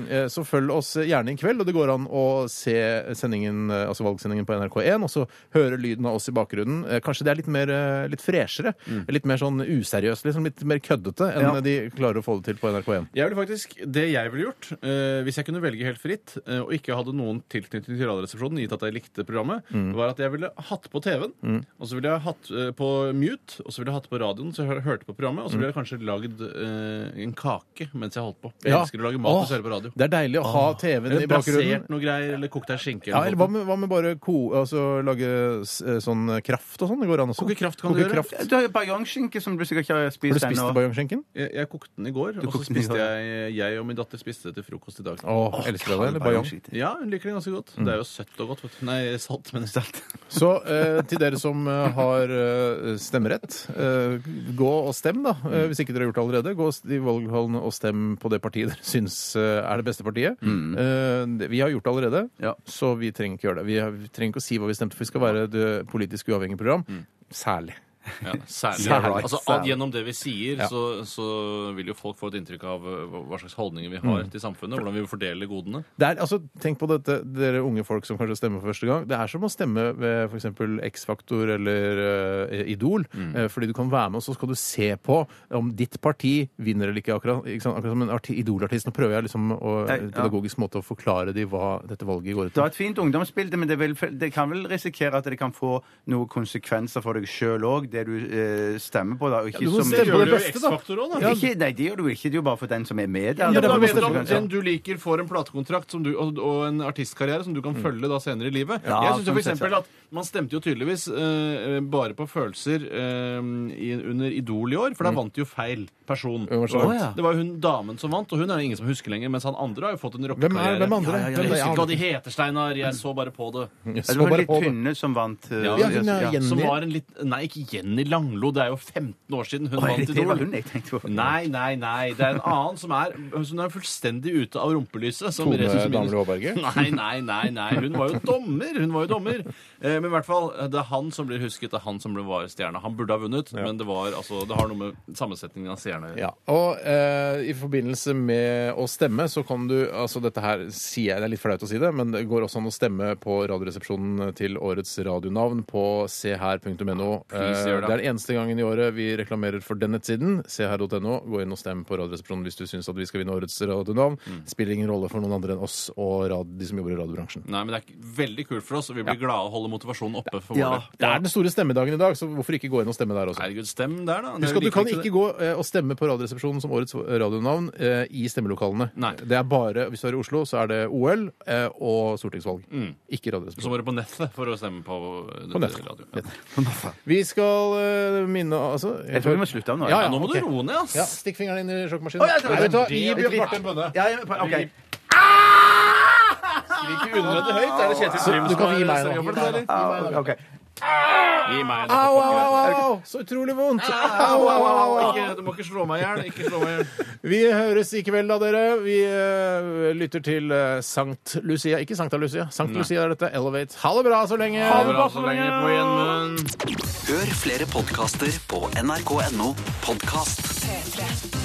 eh, så følg oss gjerne i kveld, og det går an å se sendingen, eh, altså valgsendingen på NRK1, og så høre lyden av oss i bakgrunnen. Eh, Kanskje det er litt mer eh, litt freshere, Mm. litt mer sånn useriøst, liksom litt mer køddete enn Ja. de klarer å få det til på NRK1. Jeg ville faktisk, Det jeg ville gjort, eh, hvis jeg kunne velge helt fritt eh, og ikke hadde noen tilknytning til Radioresepsjonen, gitt at jeg likte programmet, Mm. var at jeg ville hatt på TV-en, og så ville jeg hatt eh, på mute, og så ville jeg hatt på radioen, så jeg hør- hørte på programmet, Mm. og så ville jeg kanskje lagd eh, en kake mens jeg holdt på. Jeg Ja. elsker å lage mat Åh, og se på radio. Det er deilig å ha TV-en Eller i bakgrunnen. brasert noe greier, eller kokt ei skinke. Ja, eller eller noe hva med, hva med bare ko, altså, lage s- eh, sånn kraft og sånn? Det går an også. Koke kraft kan du Koke gjøre. kraft. Du har jo bajongskinke som du sikkert ikke har Har spist du spist ennå. bajongskinken? Jeg, jeg kokte den i går, og så kokte den i spiste går, jeg eh, jeg og min datter spiste det til frokost i dag. Åh, Mm. elsker du det? Eller bajong? Bajongskinke. Ja, hun liker det ganske godt. Det er jo søtt og godt. Vet du. Nei, salt, men salt. Så eh, til dere som eh, har eh, stemmerett, eh, gå og stem, da. Eh, hvis ikke dere har gjort det allerede. Gå i valghallen og stem på det partiet dere syns eh, er det beste partiet. Eh, det- vi har gjort det allerede, Ja. så vi trenger ikke gjøre det. Vi, har, vi trenger ikke å si hva vi stemte, for vi skal være et eh, politisk uavhengig program. Særlig. Ja, særlig. Særlig. Altså, Særlig. Gjennom det vi sier, Ja. så, så vil jo folk få et inntrykk av uh, hva hva slags holdninger vi har til samfunnet. Hvordan vi fordeler godene. Det er, altså, tenk på dette, dere unge folk som kanskje stemmer for første gang. Det er som å stemme ved f.eks. X-Faktor eller eh, Idol. Mm. eh, fordi du kan være med, og så skal du se på om ditt parti vinner eller ikke. Akkurat, ikke sant? akkurat som en arti- Idol-artist. Nå prøver jeg liksom å Nei, eh, ja. pedagogisk måte å forklare dem hva dette valget går ut Du har på. et fint ungdomsbilde, men det, vil, det kan vel risikere at det kan få noen konsekvenser for deg sjøl òg, det du eh, stemmer på. da, og ikke Ja, du må som- stemme på det jo beste, da. X-Faktor også, da. Ikke, nei, det gjør du ikke. Det er jo bare for den som er med der. Ja, Ja, det da var vet du bestemt, at Den du liker, får en platekontrakt som du, og, og en artistkarriere som du Mm. kan følge da senere i livet. Ja, jeg synes jo sånn for sett, eksempel ja. at Man stemte jo tydeligvis eh, bare på følelser eh, i, under Idol i år, for der vant jo feil person. Hvem var Mm. det som Å, vant? ja. Det var jo hun damen som vant, og hun er det ingen som husker lenger. Mens han andre har jo fått en Hvem er rockekarriere. hvem andre? Ja, ja, ja, Jeg Hvem er- husker ikke hva de heter, Steinar. Jeg så bare på det. Jeg Det så var bare litt på det. tynne som vant. eh, Ja, Ja, hun er ja. Jenny. Som var en litt Nei, ikke Jenny Langlo. Det er jo 15 år siden hun Å, er vant det det var Idol. hun jeg tenkte på? Nei, nei, nei. Det er en annen som er Hun er fullstendig ute av rumpelyset. Som Tone Resus Minus- Damli Aaberge? Nei, nei, nei. nei Hun var jo dommer! Hun var jo dommer eh, Men i hvert fall, det er han som blir husket. Det er han som ble var stjerne. Han burde ha vunnet, men det var altså Det har noe med sammensetningen av seerne å gjøre. Ja, og eh, I forbindelse med å stemme, så kan du altså Dette her sier jeg, det er litt flaut å si det, men det går også an å stemme på Radioresepsjonen til årets radionavn på seher.no. Eh, Please det gjør er det. den eneste gangen i året vi reklamerer for denne siden. Seher.no. Gå inn og stem på Radioresepsjonen hvis du syns at vi skal vinne årets radionavn. Mm. Det Spiller ingen rolle for noen andre enn oss og rad, de som jobber i radiobransjen. Nei, men det er k- veldig kult for oss, og vi blir glade og holder motivasjonen oppe for Ja. våre. Det er den store stemmedagen i dag, så hvorfor ikke gå inn og stemme der også? Herregud, stem der, da. Det er Husk at du like kan viktig, det. ikke gå eh, og stemme på Radioresepsjonen som årets radionavn eh, i stemmelokalene. Nei. Det er bare, Hvis du er i Oslo, så er det OL eh, og stortingsvalg. Mm. Ikke Så Radioresepsjonen. må du på nettet for å stemme på, eh, På nettet. radio. Nettet. Vi skal eh, minne altså Jeg tror vi må slutte av nå. Ja, Ja, nå må ok. du roe ned, ass. Ja, Stikk fingeren inn i sjokkemaskinen. Å, ja, det var Nei, vet du hva, det- Gi det- Bjørn Barte en bønne. Ja, ja, ok. Ikke unødvendig høyt. Er det Kjetil Så Trym du som kan er gi meg nå. ansvarlig for dette, eller? Ah, ok. Gi meg Au, au, au, au! Så utrolig vondt! Au, au, au, au, au! Ikke- Du må ikke slå meg i hjel. Ikke slå meg i hjel. Vi høres i kveld, da, dere. Vi eh, lytter til eh, Sankt Lucia. Ikke Sankta Lucia. Sankt Lucia er dette. Elevate. Ha det bra så lenge! Ha det bra så lenge. På gjenmunn. Hør flere podkaster på nrk.no podkast. P3.